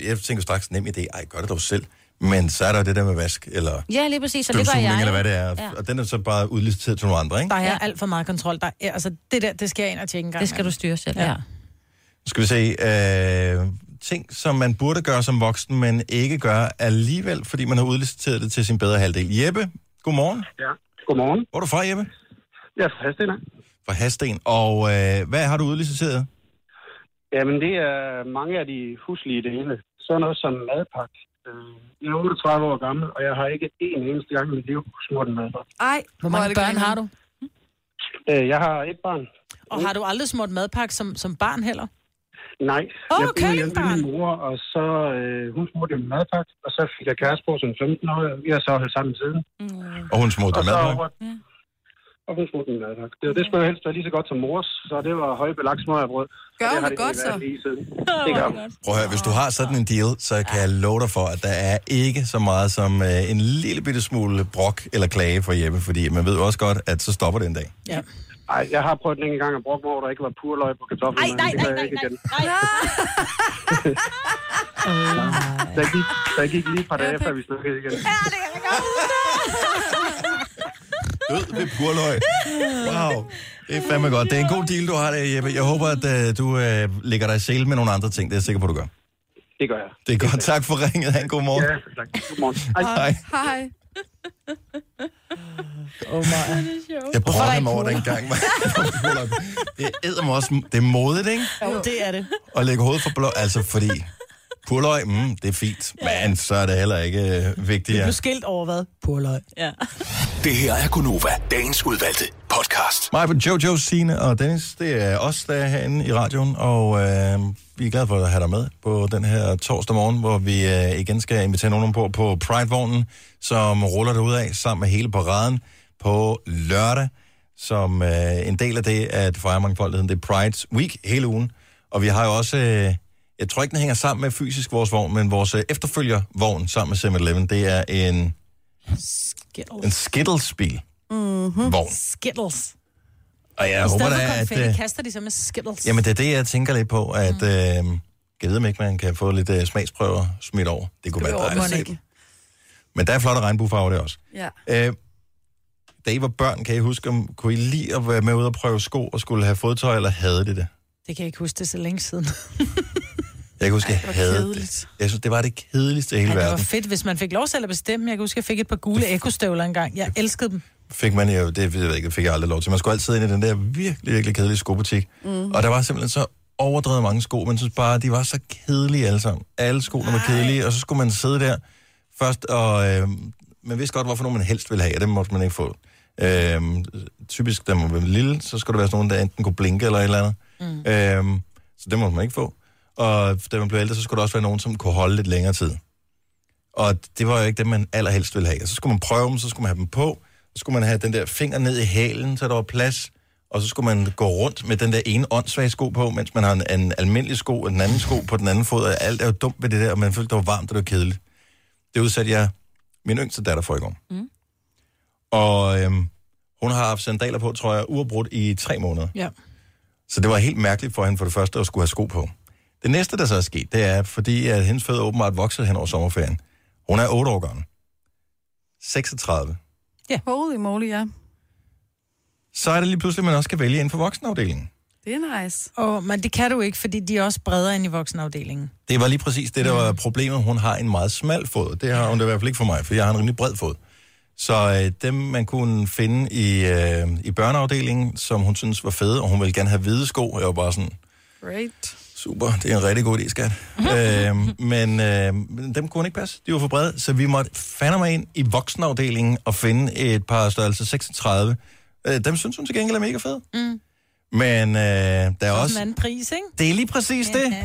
jeg tænker straks nem idé. Ej, gør det dog selv. Men så er der jo det der med vask, eller
Ja, lige præcis, og det gør
støvsugning,
jeg.
eller hvad det er.
Ja.
Ja. Og den er så bare udliciteret til nogle andre, ikke?
Der er alt for meget kontrol. Der er, altså, det der, det skal jeg ind og tjekke en gang.
Det skal du styre selv, ja.
Nu Skal vi se, øh, ting, som man burde gøre som voksen, men ikke gør alligevel, fordi man har udliciteret det til sin bedre halvdel. Jeppe, godmorgen.
Ja, godmorgen.
Hvor er du fra, Jeppe?
Jeg er fra Hadsten. ja.
Fra Hasten. Og øh, hvad har du udliciteret?
Jamen, det er mange af de huslige dele. Sådan noget som madpakke. Øh, Jeg er 38 år gammel, og jeg har ikke én eneste gang i mit liv smurt en madpakke.
Ej,
Hvor mange børn har du?
Øh, Jeg har et barn.
Og har du aldrig smurt madpakke som, som barn heller?
Nej.
Åh,
jeg boede hjemme med
kælebarn.
min mor, og så øh, hun smurte en madpakke, og så fik jeg kæreste på som 15 år. Vi har så holdt sammen siden.
Og hun smurte
Og
en
så-
madpakke.
Og hun smurte en madpakke. Det, det skulle jo helst være lige så godt som mors, så det var højbelagt smørbrød.
Gør
Og
hun
har egentlig
det godt, så?
været Lige siden. Det gør hun.
Prøv at høre, hvis du har sådan en deal, så kan jeg love dig for, at der er ikke så meget som øh, en lille bitte smule brok eller klage for Jeppe, fordi man ved jo også godt, at så stopper det en dag.
Ja.
Ej, jeg har prøvet den en gang at bruge hvor der ikke var purløg på kartoflerne.
Ej, nej,
men det gør
nej,
jeg ikke
nej,
igen.
nej.
Der gik, der gik lige et par dage, før vi snakkede igen.
Død ved purløg. Wow, det er fandme godt. Det er en god deal, du har der, Jeppe. Jeg håber, at øh, du øh, lægger dig i sele med nogle andre ting. Det er jeg sikker på, du gør.
Det gør jeg.
Det er godt. Tak for ringet. Ha' en god morgen.
Ja, tak. Godmorgen.
Hej.
Hej.
Oh my.
Jeg brokkede mig over dengang. det æder mig også. Det er modigt, ikke?
Jo, det er det.
At lægge hovedet for blå. Altså, fordi purløg, mm, det er fint. Men så er det heller ikke øh,
Du
vigtigere.
blev skilt over hvad? Purløg. Ja.
Det her er Gunova, dagens udvalgte podcast.
Mig på Jojo, Sine og Dennis, det er os, der er herinde i radioen, og øh, vi er glade for at have dig med på den her torsdag morgen, hvor vi øh, igen skal invitere nogen ombord på Pride-vognen, som ruller derud af sammen med hele paraden på lørdag, som øh, en del af det at fejre mangfoldigheden. Det er Pride's Week hele ugen, og vi har jo også, øh, jeg tror ikke, den hænger sammen med fysisk vores vogn, men vores øh, efterfølgervogn sammen med 7-Eleven, det er en, en Skittles-bil.
Mm-hmm.
Vogn.
Skittles.
Og jeg
I
håber
stedet
da,
for
at...
konfetti,
øh,
kaster de så med skittles.
Jamen, det er det, jeg tænker lidt på, at mm. øh, jeg ved ikke, man kan få lidt øh, smagsprøver smidt over. Det kunne
Det
være
var
dejligt.
ikke.
Men der er flotte regnbuefarver der også.
Ja.
Øh, da I var børn, kan I huske, om kunne I lide at være med ud og prøve sko og skulle have fodtøj, eller havde det det?
Det kan jeg ikke huske, det er så længe siden.
Jeg kan huske, jeg
det var
havde
kedeligt.
det. Jeg synes, det var det kedeligste i hele
Ja, det var
verden.
fedt, hvis man fik lov selv at bestemme. Jeg kan huske, jeg fik et par gule ekostøvler engang. Jeg elskede dem.
Fik man jo, det ved jeg ikke, det fik jeg aldrig lov til. Man skulle altid ind i den der virkelig, virkelig kedelige skobutik. Mm. Og der var simpelthen så overdrevet mange sko, men synes bare, de var så kedelige alle sammen. Alle skoene var kedelige, og så skulle man sidde der først, og øh, man vidste godt, hvorfor nogen man helst ville have, og dem måtte man ikke få. Øh, typisk, da man var lille, så skulle der være sådan nogen, der enten kunne blinke eller et eller andet. Mm. Øh, så det måtte man ikke få. Og da man blev ældre, så skulle der også være nogen, som kunne holde lidt længere tid. Og det var jo ikke det, man allerhelst ville have. Og så skulle man prøve dem, så skulle man have dem på, så skulle man have den der finger ned i halen, så der var plads, og så skulle man gå rundt med den der ene åndssvage sko på, mens man har en, en almindelig sko og den anden sko på den anden fod, og alt er jo dumt ved det der, og man følte, det var varmt, og det var kedeligt. Det udsatte jeg min yngste datter for i går.
Mm.
Og øhm, hun har haft sandaler på, tror jeg, uafbrudt i tre måneder.
Ja.
Så det var helt mærkeligt for hende for det første at skulle have sko på. Det næste, der så er sket, det er, fordi at hendes fødder åbenbart voksede hen over sommerferien. Hun er 8 år gammel. 36.
Ja.
Holy moly, ja.
Så er det lige pludselig, at man også kan vælge inden for voksenafdelingen.
Det er nice.
Og, men det kan du ikke, fordi de er også bredere end i voksenafdelingen.
Det var lige præcis det, der var problemet. Hun har en meget smal fod. Det har hun da i hvert fald ikke for mig, for jeg har en rimelig bred fod. Så øh, dem, man kunne finde i, øh, i børneafdelingen, som hun synes var fede, og hun ville gerne have hvide sko. Jeg var bare sådan,
Great.
Super, det er en rigtig god idé, skat. øhm, men øh, men dem kunne hun ikke passe. De var for brede, så vi måtte fandme ind i voksenafdelingen og finde et par størrelse 36. Øh, dem synes hun til gengæld er mega fede.
Mm.
Men øh, der er
Det er også en
også...
anden pris, ikke?
Det er lige præcis det.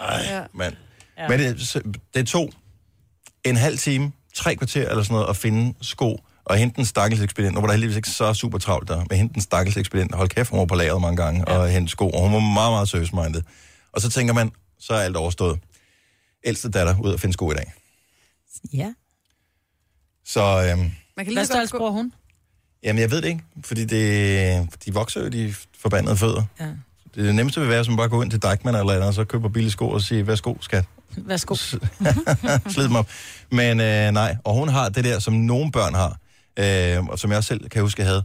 Ej, mand.
Ja.
Men det, så- det tog en halv time, tre kvarter eller sådan noget, at finde sko og hente den stakkels ekspedient. Nu var der heldigvis ikke så super travlt der, men hente den stakkels ekspedient. Hold kæft, hun var på lageret mange gange ja. og hente sko, og hun var meget, meget service-minded. Og så tænker man, så er alt overstået. Ældste datter ud at finde sko i dag.
Ja.
Så øhm,
Man
Hvad størrelse bruger hun?
jamen, jeg ved det ikke, fordi det, de vokser jo, de forbandede fødder.
Ja.
Det nemmeste vil være, som bare gå ind til Dykman eller andet, og så køber billige sko og sige, værsgo skat,
Værsgo.
slid dem op. Men øh, nej, og hun har det der, som nogle børn har, øh, og som jeg også selv kan huske, jeg havde,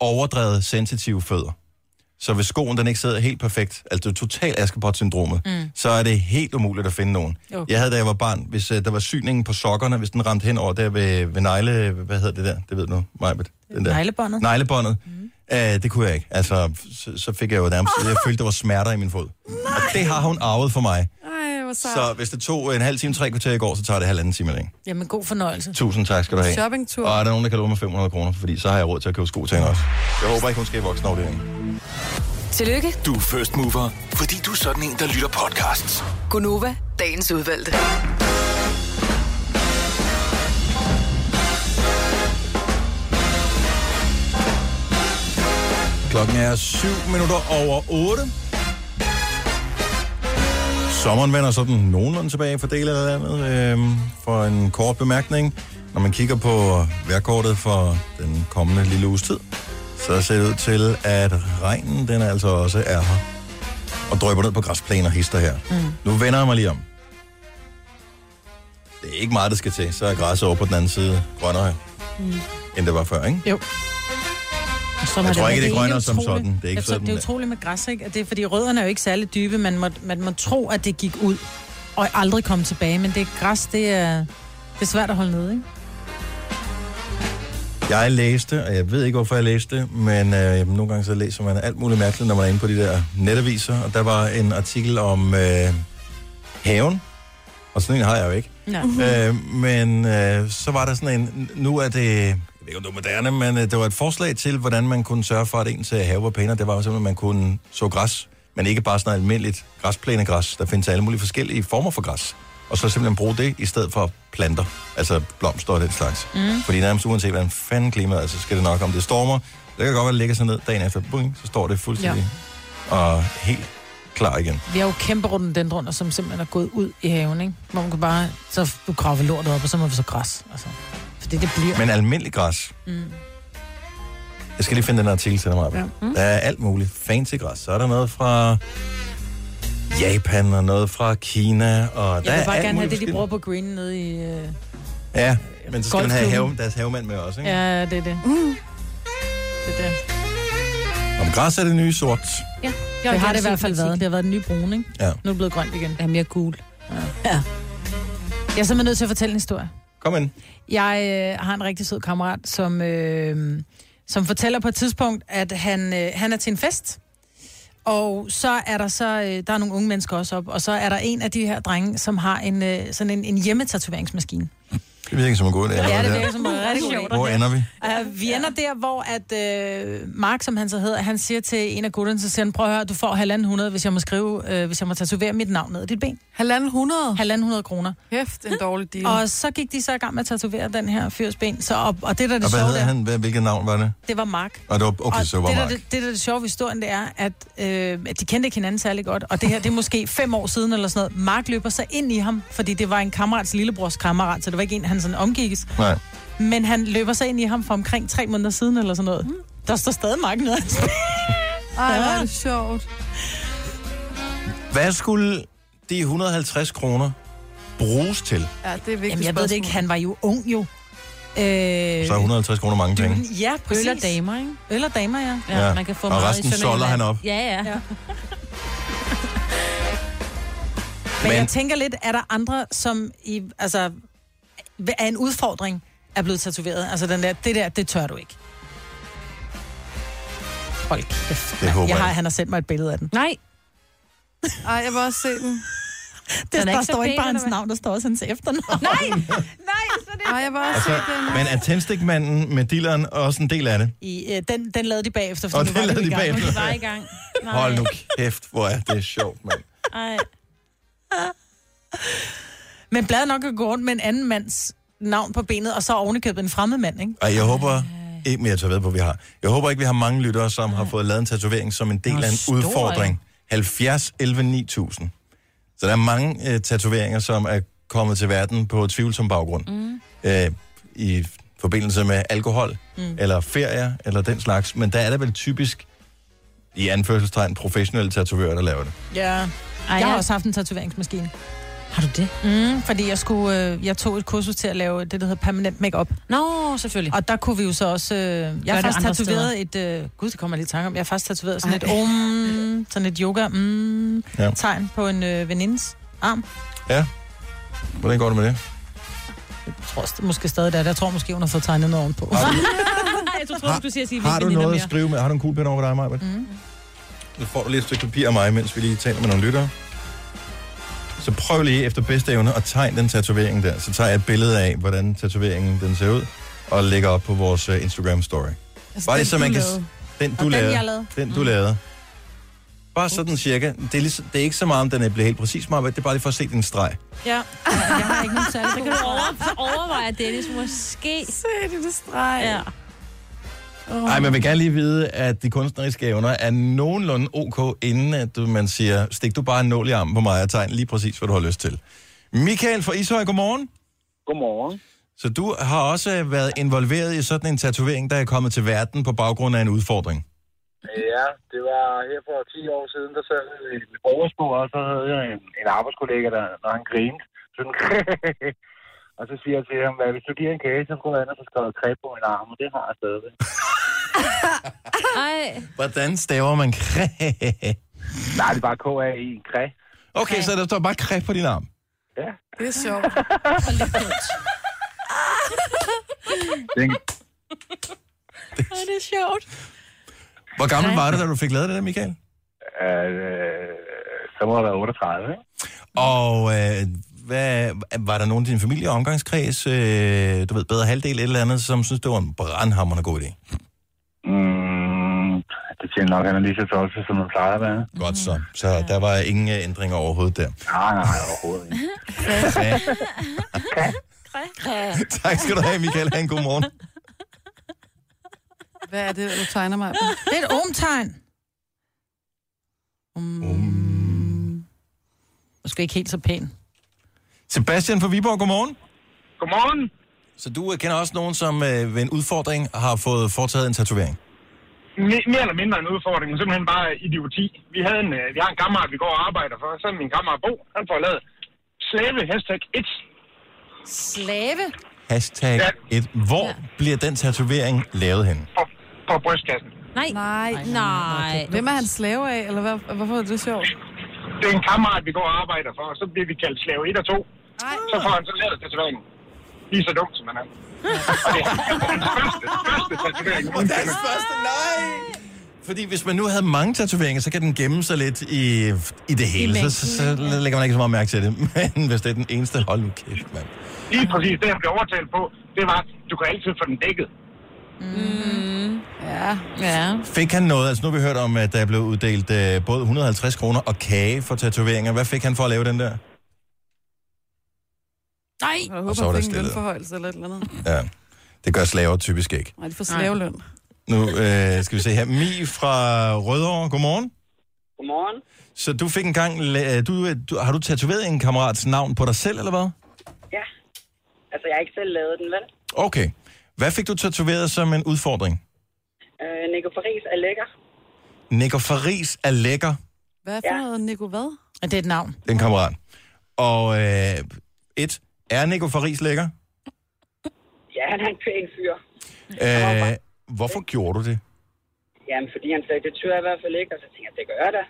overdrevet sensitive fødder. Så hvis skoen den ikke sidder helt perfekt, altså det er totalt Askepot-syndromet,
Mm.
mm. så er det helt umuligt at finde nogen.
Okay.
Okay. Jeg havde, da jeg var barn, hvis øh, der var syningen på sokkerne, hvis den ramte hen over der ved, ved negle... Hvad hedder det der? Det ved du nu, Majbet. Den der.
Neglebåndet?
Neglebåndet. Mm. Uh, det kunne jeg ikke. Altså, så, så fik jeg jo nærmest... Jeg følte, der var smerter i min fod. Nej. Og det har hun arvet for mig.
Ej, hvor sejt.
Så hvis det tog en halv time, tre kvarter i går, så tager det halvanden time i dag.
Jamen, god fornøjelse.
Tusind tak skal du have.
Shoppingtur.
Og er der nogen, der kan låne mig 500 kroner, fordi så har jeg råd til at købe sko til hende også. Jeg håber ikke, hun skal i voksenafdelingen.
Tillykke,
Du er first mover, fordi du er sådan en, der lytter podcasts.
Gunova, dagens udvalgte.
Klokken er 7 minutter over 8. Sommeren vender sådan nogenlunde tilbage for dele af landet. Øhm, for en kort bemærkning. Når man kigger på vejrkortet for den kommende lille uges tid, så ser det ud til, at regnen den altså også er her. Og drøber ned på græsplæner hister her. Mm. Nu vender jeg mig lige om. det er ikke meget, der skal til. Så er græsset over på den anden side grønnere,
Mm.
end det var før, ikke?
Jo.
Jeg tror ikke, det er
helt
grønnere som
utroligt.
sådan. Det er ikke
jeg tror,
sådan, øh,
det er
at-
utroligt med græs, ikke? At Det er, fordi rødderne er jo ikke særlig dybe. Man må, man må tro, at det gik ud og aldrig kom tilbage. Men det græs, det er, det er svært at holde nede, ikke?
Jeg læste, og jeg ved ikke, hvorfor jeg læste det, men øh, nogle gange så læser man alt muligt mærkeligt, når man er inde på de der netaviser. Og der var en artikel om øh, haven, og sådan en har jeg jo ikke.
Nej.
Øh, men øh, så var der sådan en, nu er det, jeg ved ikke om det var moderne, men øh, det var et forslag til, hvordan man kunne sørge for, at ens øh, have var pænere. Det var jo simpelthen, at man kunne så græs, men ikke bare sådan almindeligt græsplænegræs. Der findes alle mulige forskellige former for græs. Og så simpelthen bruge det i stedet for planter, altså blomster og den slags. Mm. Fordi nærmest uanset, hvordan fanden klimaet er, så skal det nok, om det stormer. Det kan godt være, at det lægger sig ned dagen efter, boing, så står det fuldstændig ja. og helt klar igen.
Vi har jo kæmpe rhododendroner, som simpelthen er gået ud i haven, ikke? Hvor man kan bare... Så du graver lortet op, og så må vi så græs, altså. Fordi det bliver...
Men almindelig græs,
Mm.
Jeg skal lige finde den her artikel til dig, Maja.
Ja.
Mm. Der er alt muligt. Fancy græs. Så er der noget fra Japan, og noget fra Kina, og der er
Jeg vil bare
alt
gerne
muligt
have
Mm.
det, de
forskelligt.
bruger på green nede i... Øh...
Ja, men så skal man have
Golfklubben.
have, deres havemand med også, ikke? Ja.
Ja, det er det. Mm. Det er det.
Om græs er det nye sort.
Ja,
Jeg
det
vil
har
gerne
det i
se
hvert fald
politik.
været. Det har været den nye brune, ikke?
Ja.
Nu er det blevet grønt igen.
Ja, mere gul.
Ja. Jeg er simpelthen nødt til at fortælle en historie.
Kom ind.
Jeg øh, har en rigtig sød kammerat, som, øh, som fortæller på et tidspunkt, at han, øh, han er til en fest. Og så er der så, øh, der er nogle unge mennesker også op, og så er der en af de her drenge, som har en, øh, sådan en, en hjemmetatoveringsmaskine.
Det virker som en god idé.
Ja, det
allerede
virker
der.
som en rigtig god idé.
Hvor ender vi?
Uh, vi ender der, hvor at øh, Mark, som han så hedder, han siger til en af gutterne, så siger han, prøv at høre, du får halvanden hundrede, hvis jeg må skrive, øh, hvis jeg må tatovere mit navn ned i dit ben. Halvanden hundrede? Halvanden hundrede kroner. Hæft, en dårlig deal. Og så gik de så i gang med at tatovere den her fyrs ben, så, og, og det der er
Og
det
hvad
sjove,
hedder
der,
han? Hvad, hvilket navn var det?
det var Mark.
Og det var, okay,
og
så var
det, der,
Mark.
det, det, der er det sjove ved historien, det er, at øh, at de kendte ikke hinanden særlig godt, og det her, det er måske fem år siden eller sådan noget. Mark løber så ind i ham, fordi det var en kammerats lillebrors kammerat, så det var ikke en, han sådan omgikkes.
Nej.
Men han løber så ind i ham for omkring tre måneder siden eller sådan noget. Der står stadig Mark nede.
Ej, hvor er det sjovt.
Hvad skulle de 150 kroner bruges til?
Ja, det er vigtigt Jamen, jeg ved det ikke. Han var jo ung, jo. Øh,
Så er 150 kroner mange penge.
Ja, præcis.
Øl og damer, ikke?
Øl og damer, ja.
Ja, Ja, man kan få og meget i resten solder Sønderjylland. han op.
Ja, ja. ja. Men, Men jeg tænker lidt, er der andre, som i, altså, er en udfordring, er blevet tatoveret? Altså den der, det der, det tør du ikke. Hold kæft.
Det håber
jeg.
jeg.
Har, han har sendt mig et billede af den. Nej.
Ej, jeg vil også se den.
Det, der står ikke bare hans navn, der står også hans efternavn. Nej! Nej, så det...
Ej, jeg vil også
Altså,
se den.
men er tændstikmanden med dilleren også en del af det?
I, øh, den, den lavede de bagefter,
Og
fordi nu
den
var
lavede
de i
de
gang.
bagefter.
Nu var de bare i gang. Nej.
Hold nu kæft, hvor er det sjovt, mand.
Ej. Men bladet nok at gå rundt med en anden mands navn på benet, og så ovenikøbet en fremmed mand, ikke?
Ej, jeg håber ikke, men jeg tager ved på, at vi har. Jeg håber ikke, vi har mange lyttere, som har fået lavet en tatovering som en del
Nå,
af en
stor,
udfordring. 70 11 9000. Så der er mange øh, tatoveringer, som er kommet til verden på tvivlsom baggrund. Mm. Øh, I forbindelse med alkohol, mm. eller ferier, eller den slags. Men der er der vel typisk, i anførselstegn, professionelle tatovører, der laver det.
Ja. Ej, jeg har også haft en tatoveringsmaskine. Har du det? Mm, fordi jeg, skulle, øh, jeg tog et kursus til at lave det, der hedder permanent makeup. Nå, selvfølgelig. Og der kunne vi jo så også... Øh, jeg har
det
faktisk
andre
tatoveret et... Øh, gud, det kommer jeg lige i tanke om. Jeg har faktisk tatoveret sådan et om... Sådan et yoga... Mm,
Ja.
ja. Tegn på en øh, venindes arm.
Ja. Hvordan går det med det?
Jeg tror st- måske stadig der. Jeg tror måske, hun har fået tegnet noget ovenpå.
jeg tror, troede, du siger, at sige, at vi
Har
ikke
du
veninder
noget at
mere.
skrive med? Har du en kuglepen over ved dig, Maja? Mm. Så får du lige et stykke papir af mig, mens vi lige taler med nogle lyttere. Så prøv lige efter bedste evne at tegne den tatovering der. Så tager jeg et billede af, hvordan tatoveringen den ser ud, og lægger op på vores øh, Instagram-story. Altså, Bare
den,
lige så
du
man kan...
lavede.
Den, du
Og den,
lavede.
jeg lavede. Mm.
Den, du lavede. Bare sådan cirka. Det er, ligesom, det er ikke så meget, om den er blevet helt præcis, Maja. Det er bare lige for at se din streg.
Ja. Jeg har ikke nogen særlig
Så kan du over, overveje, at Dennis måske... Se det, det streg. Ja.
Nej, man vil gerne lige vide, at de kunstneriske evner er nogenlunde ok, inden at du- man siger, stik du bare en nål i armen på mig og tegn lige præcis, hvad du har lyst til. Michael fra Ishøj, godmorgen.
Godmorgen.
Så du har også været involveret i sådan en tatovering, der er kommet til verden på baggrund af en udfordring.
Ja, det var her for 10 år siden, der sad jeg i et borgerspor, og så havde jeg en, en arbejdskollega, der, når han grinede, sådan, Og så siger jeg til ham, at hvis du giver en kage, så går jeg ind og får skrevet kræb på min arm, og det har jeg stadigvæk.
Ej.
Hvordan staver man kræ?
Nej, det er bare K-A-I, kræ.
Okay, så der står bare kræ på din arm.
Ja.
Det er sjovt.
Ej, det er sjovt.
Hvor gammel var du, da du fik lavet det der, Michael?
Øh, så må jeg være 38, ikke?
Og øh, hvad, var der nogen i din familie og omgangskreds, øh, du ved, bedre halvdel et eller andet, som synes, det var en brandhammerende god idé?
Mm, det tænker nok, han er lige så tosset, som han plejer at være.
Godt så. Så der var ingen øh, ændringer overhovedet der.
Nej, nej, overhovedet ikke.
tak skal du have, Michael. Ha' en god morgen.
Hvad er det, du tegner mig?
Det er et omtegn.
Um.
Um. Måske ikke helt så pæn.
Sebastian fra Viborg, godmorgen.
Godmorgen.
Så du øh, kender også nogen, som øh, ved en udfordring har fået foretaget en tatovering?
Me- mere eller mindre en udfordring, men simpelthen bare idioti. Vi, havde en, øh, vi har en kammerat, vi går og arbejder for. Så er min kammerat Bo, han får lavet slave, hashtag 1.
Slave?
Hashtag et. Hvor ja. bliver den tatovering lavet hen?
På brystkassen.
Nej.
Nej.
Nej.
Hvem er han slave af, eller hvad, hvorfor er det sjovt?
Det er en kammerat, vi går og arbejder for, og så bliver vi kaldt slave 1 og 2. Nej. Så får han så lavet tatoveringen. Lige så dum, som han er. Og det er hans første, første tatovering.
Hans første, nej! Fordi hvis man nu havde mange tatoveringer, så kan den gemme sig lidt i, i det hele. så, så, så lægger man ikke så meget mærke til det. Men hvis det er den eneste, hold nu kæft, mand.
Lige præcis det, han blev overtalt på, det var, du kan altid få den dækket.
Mm. Ja. Ja.
Fik han noget? Altså nu har vi hørt om, at der blev uddelt øh, både 150 kroner og kage for tatoveringer. Hvad fik han for at lave den der?
Nej. Jeg
Og så var der
håber, han fik en
stille.
lønforhøjelse eller et eller andet.
Ja, det gør slaver typisk ikke.
Nej, de får slaveløn.
Nu øh, skal vi se her. Mi fra Rødovre, godmorgen.
Godmorgen.
Så du fik engang... la- øh, Du, øh, du, har du tatoveret en kammerats navn på dig selv, eller hvad?
Ja. Altså, jeg har ikke selv lavet den, vel?
Okay. Hvad fik du tatoveret som en udfordring?
Øh, Nico Paris er lækker.
Nico Faris er lækker,
Hvad for ja. noget, Nico, hvad?
Det er et navn.
den kammerat. Og øh, et, er Nico Faris lækker?
Ja, han er en pæn fyr.
Øh, hvorfor gjorde du det?
Jamen, fordi han sagde, det tør jeg i hvert fald ikke, og så tænkte jeg, det gør jeg da.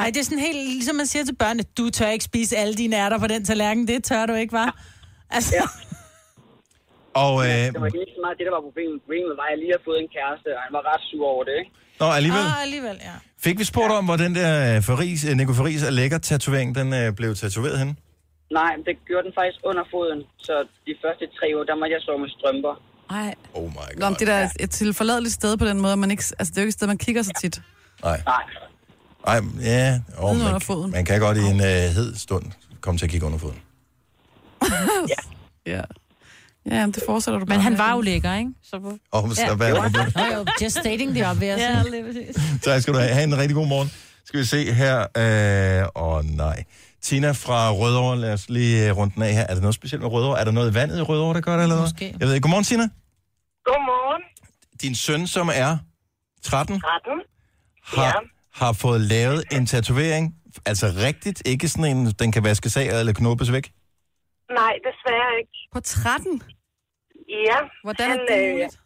Ej, det er sådan helt, ligesom man siger til børnene, du tør ikke spise alle dine ærter på den tallerken. Det tør du ikke, var? Altså, ja.
Og øh,
Det var ikke så meget det, der var problemet. Problemet var, at jeg lige har fået en kæreste, og han var ret sur over det, ikke?
nå, alligevel,
Ah, alligevel, ja.
fik vi spurgt om, hvor den der øh, Faris, øh, Nico Faris er lækker tatovering, den øh, blev tatoveret henne?
Nej, men det gjorde den faktisk under foden, så de første tre år, der måtte jeg sove med strømper.
Ej.
Oh my god.
Nå, men det er da et- et tilforladeligt sted på den måde, man ikke, altså det er jo ikke et sted, man kigger så tit.
Nej. Nej, ja. Oh,
under
man,
foden.
man kan godt i en øh, hed stund komme til at kigge under foden.
ja. Ja, men det fortsætter du bare.
Men han var jo lækker, ikke? Så hvor...
Åh, men så hvad er problemet?
Jo, jo, just stating the obvious.
Ja, lige præcis.
Tak skal du have. Ha' en rigtig god morgen. Skal vi se her. Øh, Åh øh, nej. Tina fra Rødovre, lad os lige øh, runde den af her. Er der noget specielt med Rødovre? Er der noget i vandet i Rødovre, der gør det, eller hvad?
Måske.
Jeg ved ikke. Godmorgen, Tina.
Godmorgen.
Din søn, som er 13,
13.
har, ja. har fået lavet en tatovering. Altså rigtigt, ikke sådan en, den kan vaskes af eller knoppes væk.
Nej, desværre ikke.
På 13?
Ja.
Hvordan
han, øh,
er det muligt?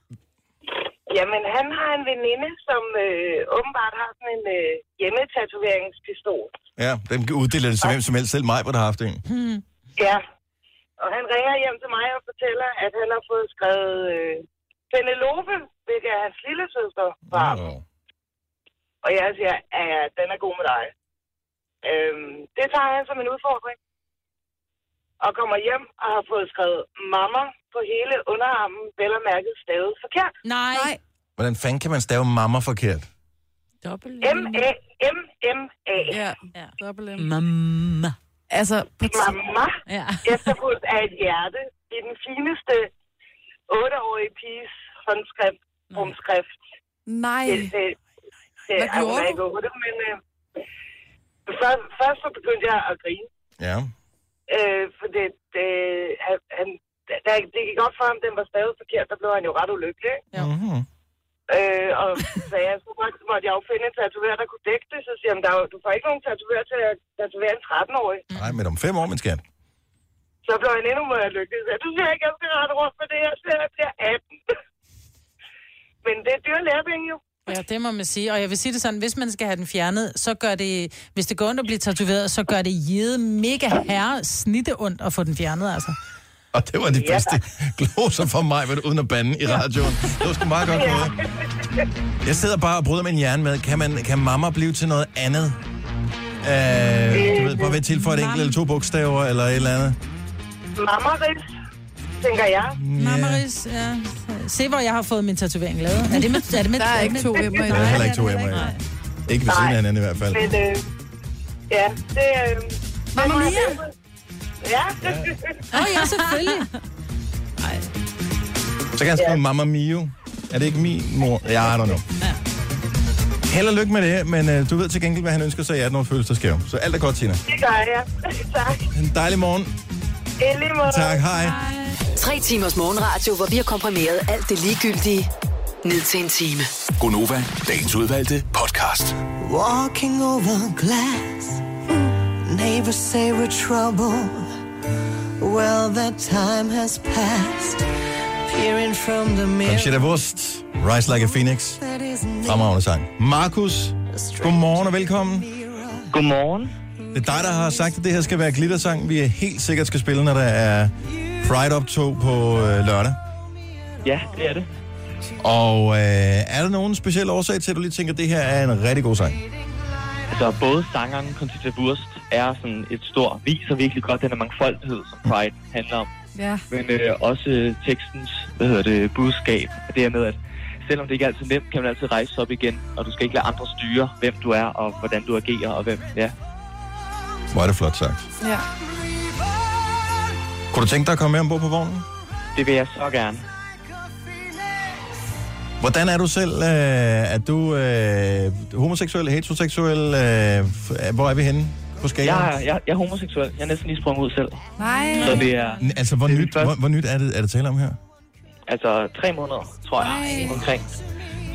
jamen, han har en veninde, som øh, åbenbart har sådan en øh, hjemmetatoveringspistol.
Ja, den uddeler det til hvem som helst. Selv mig, hvor der har haft en.
Hmm. Ja. Og han ringer hjem til mig og fortæller, at han har fået skrevet øh, Penelope, hvilket er hans lille søster.
Wow.
Og jeg siger, at ja, den er god med dig. Øhm, det tager han som en udfordring. Og kommer hjem og har fået skrevet mamma på hele underarmen, vel og mærket stavet forkert.
Nej. Nej.
Hvordan fanden kan man stave mamma forkert?
Dobbelt
M-A-M-M-A.
Ja, ja. Mm. dobbelt M.
Mamma.
Altså, på t-
Mamma.
Ja.
Efterfuldt af et hjerte i den fineste 8-årige piges håndskrift, rumskrift.
Nej.
Det, det, det,
Hvad
ej, hun
gjorde
er
du?
ikke otte, men øh, først, først så begyndte jeg at grine.
Ja.
Øh, for det, det, han, han, da, det gik op for ham, den var stadig forkert, der blev han jo ret ulykkelig. ikke?
Mm-hmm.
Øh, og så jeg skulle godt, så måtte jeg jo finde en tatoverer, der kunne dække det. Så siger han, der, er jo- du får ikke nogen tatoverer til at tatovere en 13-årig.
Nej, men om fem år, man skal.
Så blev han endnu mere lykkelig. Så du ser ikke, jeg skal rette rundt med det her, så jeg bliver 18. Men det er dyre lærepenge jo.
Ja, det må man sige. Og jeg vil sige det sådan, hvis man skal have den fjernet, så gør det, hvis det går ondt at blive tatoveret, så gør det jede mega herre snitte ondt at få den fjernet, altså.
Og det var de bedste gloser for mig, men uden at bande i radioen. Det var sgu meget godt gået. Jeg sidder bare og bryder min hjerne med, kan, man, kan mamma blive til noget andet? Øh, du ved, bare ved at tilføje et enkelt eller to bogstaver eller et eller andet.
Mammeris, tænker jeg.
Mammeris, ja. Se, hvor jeg har fået min tatovering lavet. Er det med, er det med,
Der er ikke
med-
to M'er i
Der er heller ikke to emmer i. Ikke ved siden af hinanden i hvert fald.
Men øh, ja, det... Øh, Mamma Mia? Ja.
Åh, oh, ja, selvfølgelig.
Så kan jeg skrive Mamma Mio. Er det ikke min mor? Ja, I don't know. Held og lykke med det, men øh, du ved til gengæld, hvad han ønsker sig i 18 års fødselsdagsgave. Så alt er godt, Tina.
det gør jeg. tak.
En dejlig morgen.
I lige måde.
Tak, hej.
Tre timers morgenradio, hvor vi har komprimeret alt det ligegyldige ned til en time.
Gonova, dagens udvalgte podcast.
Walking over glass. Neighbors say we're trouble. Well, that time has passed. Peering from the
Conchita
mirror.
Wurst, Rise Like a Phoenix. Fremragende sang. Markus, godmorgen og velkommen. Godmorgen. Det er dig, der har sagt, at det her skal være glittersang, vi er helt sikkert skal spille, når der er Pride-optog på øh, lørdag.
Ja, det er det.
Og øh, er der nogen speciel årsag til, at du lige tænker, at det her er en rigtig god sang?
Altså, både sangeren Conchita Wurst er sådan et stort, viser virkelig godt den her mangfoldighed, som Pride handler om.
Ja.
Men øh, også øh, tekstens, hvad hedder det, budskab. Det her med, at selvom det ikke er altid nemt, kan man altid rejse sig op igen, og du skal ikke lade andre styre, hvem du er, og hvordan du agerer, og hvem, ja.
Hvor er det flot sagt.
Ja.
Kunne du tænke dig at komme med ombord på vognen?
Det vil jeg så gerne.
Hvordan er du selv? Øh, er du øh, homoseksuel, heteroseksuel? Øh, f- hvor er vi henne på skalaen?
Jeg, er- jeg, jeg er homoseksuel. Jeg er næsten lige sprunget ud selv.
Nej.
Så det er
N- Altså, hvor, nyt, hvor, hvor nyt er det, er det tale om her?
altså tre måneder, tror jeg, omkring.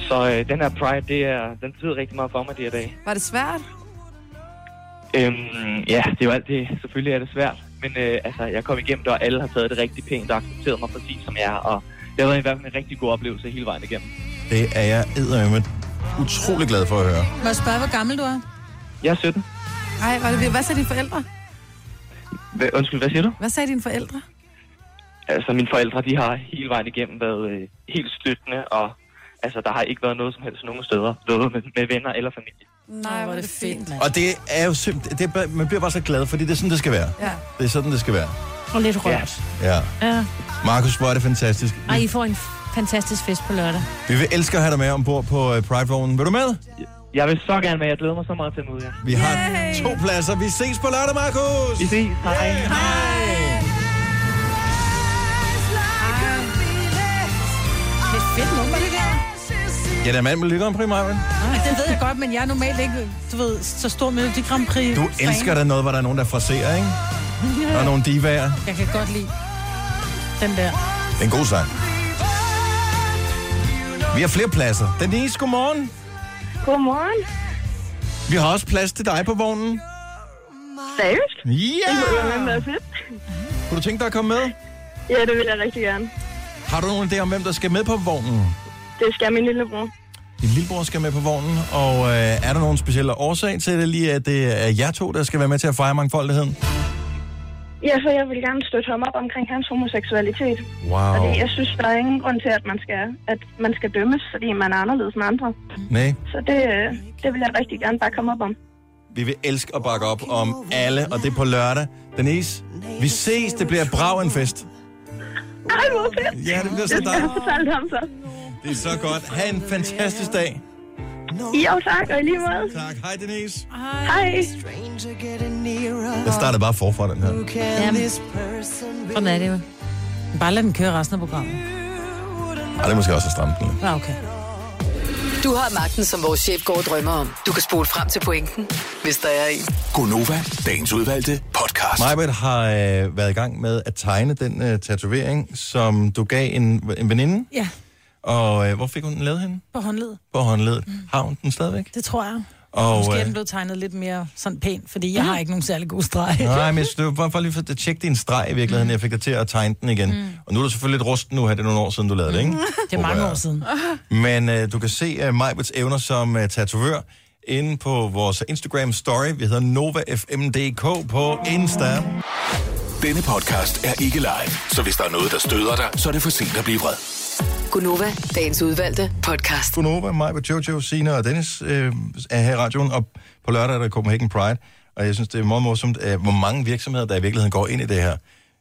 Så øh, den her Pride, det er, den betyder rigtig meget for mig de her dage.
Var det svært?
Øhm, ja, det er jo alt det. Selvfølgelig er det svært. Men øh, altså, jeg kom igennem det, og alle har taget det rigtig pænt og accepteret mig præcis som jeg er. Og det har været i hvert fald en rigtig god oplevelse hele vejen igennem.
Det er jeg eddermame utrolig glad for at høre.
Må jeg spørge, hvor gammel du er?
Jeg er 17.
Ej, var det vildt. Hvad sagde dine forældre?
Hva, undskyld, hvad siger du?
Hvad sagde dine forældre?
Altså, mine forældre, de har hele vejen igennem været øh, helt støttende, og altså, der har ikke været noget som helst nogen steder. Både med, med venner eller familie.
Nej, hvor er det fint.
Og det er jo simpelthen... Det er, bare- man bliver bare så glad, fordi det er sådan, det skal være.
Ja.
Det er sådan, det skal være.
Og lidt rørt.
Ja.
Ja.
Markus, hvor er det fantastisk.
Ej, I får en fantastisk fest på lørdag.
Vi vil elske at have dig med ombord på øh, Pride-vognen. Vil du med?
Jeg vil så gerne med. Jeg glæder mig så meget til at møde jer.
Vi har to pladser. Vi ses på lørdag, Markus!
Vi ses. Hej.
Hej.
Det er fedt nummer, det der.
Ja, der er mand med lykkeren, primært.
Ej, det ved jeg godt, men jeg er normalt ikke, du ved, så stor Melodi Grand Prix.
Du elsker da noget, hvor der er nogen, der fraserer, ikke? Der er nogle divaer.
Jeg kan godt lide den der.
Det er en god sang. Vi har flere pladser. Denise, godmorgen.
Godmorgen.
Vi har også plads til dig på vognen.
Seriøst?
Ja!
Det må være med, med fedt.
Kunne du tænke dig at komme med?
Ja, det vil jeg rigtig gerne.
Har du nogen idé om, hvem der skal med på vognen?
Det skal min lillebror.
Din lillebror skal med på vognen, og øh, er der nogen specielle årsag til det lige, at det er jer to, der skal være med til at fejre mangfoldigheden?
Ja, for jeg vil gerne støtte ham op omkring hans homoseksualitet.
Wow.
Og det, jeg synes, der er ingen grund til, at man skal, at man skal dømmes, fordi man er anderledes end andre.
Nej.
Så det, øh, det vil jeg rigtig gerne bare komme op om.
Vi vil elske at bakke op om alle, og det er på lørdag. Denise, vi ses. Det bliver brav en fest.
Ej, hvor fedt!
Ja, det bliver så
Det skal jeg
dejligt.
fortælle ham så.
Det er så godt. Ha' en fantastisk dag.
Jo, tak, og i lige måde.
Tak. Hej, Denise.
Hej.
Jeg startede bare forfra den her.
Sådan er det jo. Bare lad den køre resten af programmet.
Ej, det er måske også at stramme den lidt.
Ja, okay.
Du har magten, som vores chef går og drømmer om. Du kan spole frem til pointen, hvis der er en.
Gonova, dagens udvalgte podcast.
Majbert har øh, været i gang med at tegne den øh, tatovering, som du gav en, en veninde.
Ja,
Og øh, hvor fik hun den lavet henne?
på håndled.
På håndledet. Har hun den stadigvæk?
Det tror jeg.
Og,
Måske er
øh,
den blevet tegnet lidt mere sådan pænt, fordi jeg har ikke nogen særlig god streg.
Nej, men jeg synes, det var bare for lige for at tjekke din streg i virkeligheden. Jeg fik dig til at tegne den igen.
Mm.
Mm. Og nu er du selvfølgelig lidt rusten nu her. Det er nogle år siden, du lavede det, ikke?
Det er
Håber
mange
jeg.
år siden.
Men øh, du kan se øh, Majbets evner som øh, tatovør inde på vores Instagram-story. Vi hedder NovaFMDK på Insta.
Denne podcast er ikke live, så hvis der er noget, der støder dig, så er det for sent at blive vred.
Gunova, dagens udvalgte podcast.
Gunova, Majbet, Jojo, Sina og Dennis øh, er her i radioen. Og på lørdag er der Copenhagen Pride. Og jeg synes, det er meget morsomt, øh, hvor mange virksomheder, der i virkeligheden går ind i det her.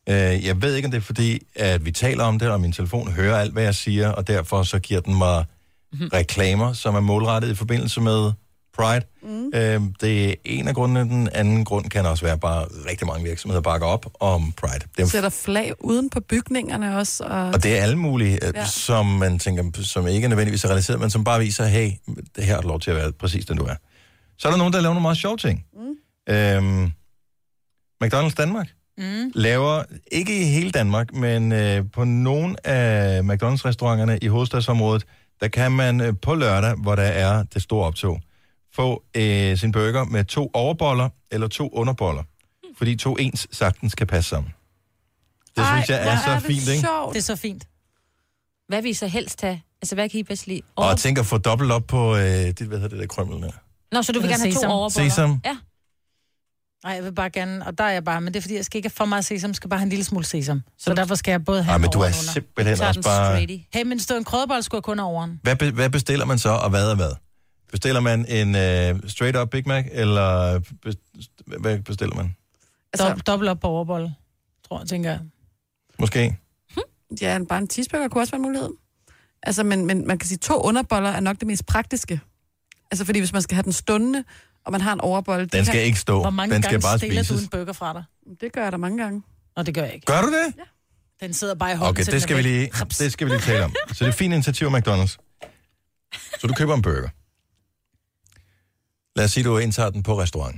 Øh, jeg ved ikke, om det er fordi, at vi taler om det, og min telefon hører alt, hvad jeg siger, og derfor så giver den mig reklamer, som er målrettet i forbindelse med Pride. Mm. Øh, det er en af grundene. Den anden grund kan også være, bare rigtig mange virksomheder bakker op om Pride. Det er,
Sætter flag uden på bygningerne også. Og,
og det er alle mulige,
Ja.
ja. som man tænker, som ikke er nødvendigvis er relateret, men som bare viser, hey, det her har du lov til at være præcis den, du er. Så er der nogen, der laver nogle meget sjove ting. Mm. Øhm, McDonald's Danmark
Mm.
laver, ikke i hele Danmark, men øh, på nogle af McDonald's-restauranterne i hovedstadsområdet, der kan man øh, på lørdag, hvor der er det store optog, få øh, sin burger med to overboller eller to underboller. Fordi to ens sagtens kan passe sammen. Det synes jeg er så fint, ikke?
Det er så fint.
Hvad vil I så helst have? Altså, hvad kan I bedst lide?
Og jeg tænker at få dobbelt op på, øh, det, hvad hedder det der krømmel der?
Nå, så du vil
Eller
gerne have to
sesam.
overboller?
Sesam.
Ja.
Nej, jeg vil bare gerne, og der er jeg bare, men det er fordi, jeg skal ikke have for meget sesam, skal bare have en lille smule sesam. Så, derfor skal jeg både have
Ej, Ah, men
over
du er
og under.
simpelthen Så er også den bare- straighty.
Hey, men stå en krødebold skulle jeg kun have overen.
Hvad, be, hvad bestiller man så, og hvad er hvad? Bestiller man en øh, straight up Big Mac, eller be, hvad bestiller man?
Altså, Dob, dobbelt op på overbold, tror jeg, tænker jeg.
Måske.
Ja, en- bare en cheeseburger kunne også være en mulighed. Altså, men, men man kan sige, to underboller er nok det mest praktiske. Altså, fordi hvis man skal have den stående, og man har en overbolle... det
Den skal
kan-
ikke stå.
Hvor mange
Den
gange
skal bare
stiller du
spises.
en burger fra dig?
Det gør jeg da mange gange.
Nå, det gør jeg ikke.
Gør du det?
Den sidder bare i hånden
Okay,
til
det
den
skal,
er
vi
væk.
lige, det skal vi lige tale om. Så det er et fint initiativ af McDonald's. Så du køber en burger. Lad os sige, du indtager den på restaurant.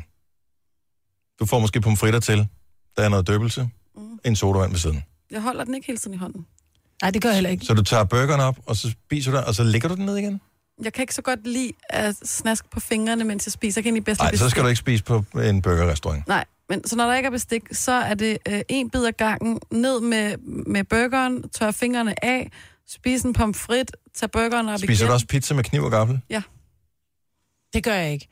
Du får måske pomfritter til. Der er noget døbelse.
Mm.
En sodavand ved siden.
Jeg holder den ikke hele tiden i hånden.
Nej, det gør jeg heller ikke.
Så du tager burgeren op, og så spiser du den, og så lægger du den ned igen?
Jeg kan ikke så godt lide at snaske på fingrene, mens jeg spiser. Jeg kan egentlig bedst lide
Nej, så
bestik.
skal du ikke spise på en burgerrestaurant.
Nej, men så når der ikke er bestik, så er det øh, en bid ad gangen, ned med, med burgeren, tør fingrene af, spise en pomfrit, tag burgeren op
Spiser
igen.
du også pizza med kniv og gaffel?
Ja.
Det gør jeg ikke.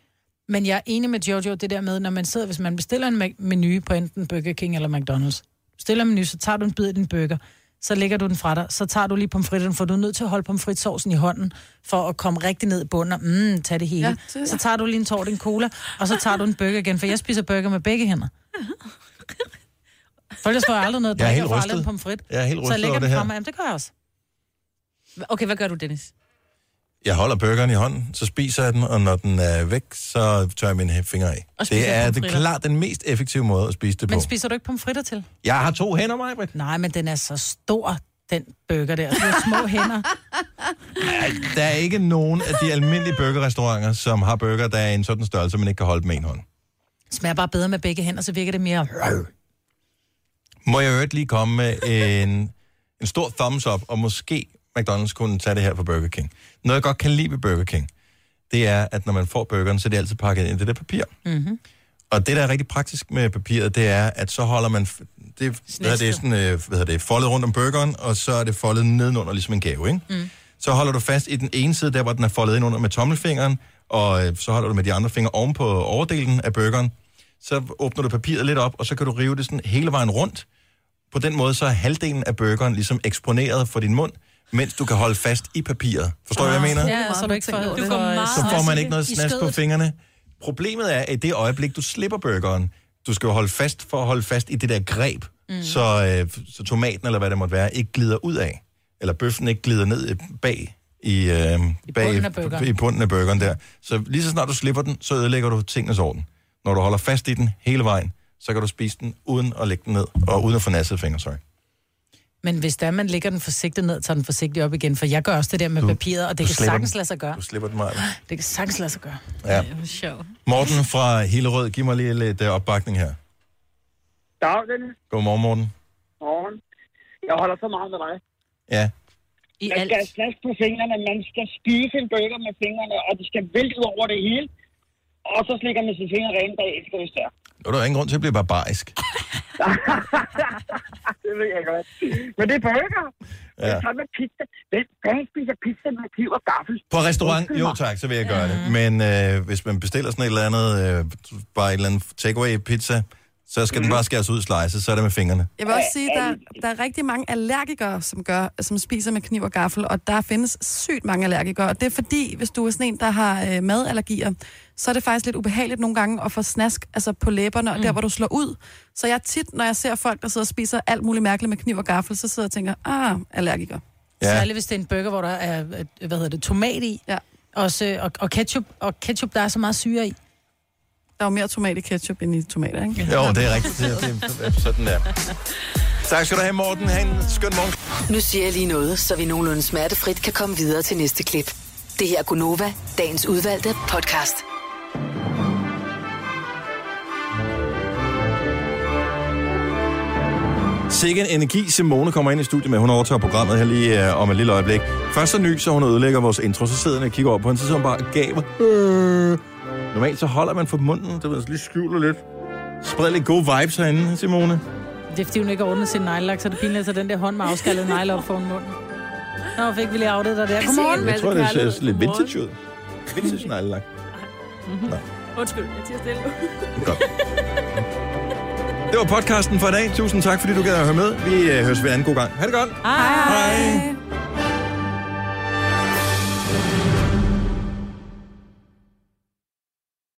Men jeg er enig med Jojo, det der med, når man sidder, hvis man bestiller en ma- menu på enten Burger King eller McDonald's. Bestiller en menu, så tager du en bid af din burger, så lægger du den fra dig, så tager du lige pomfritterne, for du er nødt til at holde pomfritsovsen i hånden, for at komme rigtig ned i bunden og mm, tage det hele.
Ja,
Ja,
det er-
Så tager du lige en tår en cola, og så tager du en burger igen, for jeg spiser burger med begge hænder. For ellers får jeg aldrig noget at
Jeg er
drikke,
helt
og får aldrig
rystet.
en pomfrit.
Jeg er helt
så
rystet
jeg lægger
over det
den
her.
fra mig. Jamen, det gør jeg også.
Okay, hvad gør du, Dennis?
Jeg holder burgeren i hånden, så spiser jeg den, og når den er væk, så tør jeg mine fingre af.
Og spiser
Det er det
pomfritter.
klart den mest effektive måde at spise det på.
Men spiser du ikke pomfritter til?
Jeg har to hænder, mig, Britt.
Nej, men den er så stor, den burger der. Du har små hænder.
Der er ikke nogen af de almindelige burgerrestauranter, som har burger, der er i en sådan størrelse, man ikke kan holde med en hånd.
Smager bare bedre med begge hænder, så virker det mere...
Må jeg i øvrigt lige komme med en, en stor thumbs up, og måske McDonald's kunne tage det her på Burger King. Noget, jeg godt kan lide ved Burger King, det er, at når man får burgeren, så er det altid pakket ind i det der papir.
Mm-hmm.
Og det, der er rigtig praktisk med papiret, det er, at så holder man... f- Det, hvad er det, sådan, øh, hvad hedder det, foldet rundt om burgeren, og så er det foldet nedenunder, ligesom en gave, ikke? Mm. Så holder du fast i den ene side, der hvor den er foldet ind under med tommelfingeren, og øh, så holder du med de andre fingre oven på overdelen af burgeren. Så åbner du papiret lidt op, og så kan du rive det sådan hele vejen rundt. På den måde, så er halvdelen af burgeren ligesom eksponeret for din mund, mens du kan holde fast i papiret. Forstår du, hvad jeg mener?
Ja, så du ikke får...
Du får meget
Ah,
så får
snask
man
i-
ikke noget
i
snask på
skødet.
fingrene. Problemet er, at i det øjeblik, du slipper burgeren, du skal jo holde fast for at holde fast i det der greb,
Mm.
mm. så, øh, så tomaten eller hvad det måtte være, ikke glider ud af. Eller bøffen ikke glider ned øh, bag i, øh, I, bag,
bunden af burgeren.
i bunden af burgeren der. Så lige så snart du slipper den, så ødelægger du tingens orden. Når du holder fast i den hele vejen, så kan du spise den uden at lægge den ned, og uden at få nassede fingre, sorry.
Men hvis der man lægger den forsigtigt ned, tager den forsigtigt op igen, for jeg gør også det der med du, papiret, og det
du
kan
slipper
sagtens
den.
lade sig gøre.
Du slipper den meget.
Det kan sagtens lade sig gøre.
Ja.
sjovt.
Morten fra Hillerød, giv mig lige lidt øh, opbakning her.
Dag, Dennis.
Godmorgen, Morten.
Morgen. Jeg holder så meget med dig.
Ja.
I man skal have plads på fingrene, man skal spise en burger med fingrene, og det skal vælte ud over det hele.
og så slikker man sine fingre rene bagefter, hvis det er.
Nu er der jo ingen grund til at blive barbarisk.
det ved jeg godt. Men det er burger. Ja.
Ja.
Det er sådan med pizza. Hvem fanden spiser pizza med kniv og gaffel?
På restaurant,
Undskyld
jo
mig.
tak, så vil jeg gøre det. Men øh, hvis man bestiller sådan et eller andet, øh, bare et eller andet takeaway pizza, så skal mm. den bare skæres ud i slices, så er det med fingrene.
Jeg vil også sige, der, der er rigtig mange allergikere, som, gør, som spiser med kniv og gaffel, og der findes sygt mange allergikere. Og det er fordi, hvis du er sådan en, der har øh, madallergier, så er det faktisk lidt ubehageligt nogle gange at få snask altså på læberne, og der, hvor du slår ud. Så jeg tit, når jeg ser folk, der sidder og spiser alt muligt mærkeligt med kniv og gaffel, så sidder jeg og tænker, ah, allergiker.
Ja. Særligt hvis det er en burger, hvor der er, øh, hvad hedder det, tomat i.
Ja.
Også, øh, og, og, ketchup, og ketchup, der er så meget syre i.
Der er jo mere tomat i ketchup end i tomater, ikke?
Jo, det er rigtigt. Det, det, det, sådan der. Tak skal du have, Morten. Ha' en skøn morgen.
Nu siger jeg lige noget, så vi nogenlunde smertefrit kan komme videre til næste klip. Det her er Gunova, dagens udvalgte podcast.
Sikke en energi, Simone kommer ind i studiet med. Hun overtager programmet her lige øh, om et lille øjeblik. Først så nyser hun og ødelægger vores intro, så sidder hun og kigger over på hende, så sidder hun bare og gaber. Øh. Normalt så holder man for munden, det ved, så lige skjuler lidt. Spred lidt gode vibes herinde, Simone.
Det er fordi, hun ikke har ordnet sin neglelak, så det er pinligt at tage den der hånd med afskaldet negle op foran munden. Nå, fik vi lige outet dig der. Godmorgen.
Jeg tror, det ser lidt vintage ud. Vintage neglelak.
Undskyld, jeg tiger stille nu.
Det var podcasten for i dag. Tusind tak, fordi du gad at høre med. Vi øh, høres ved en anden god gang. Ha' det godt.
Hej.
Hej.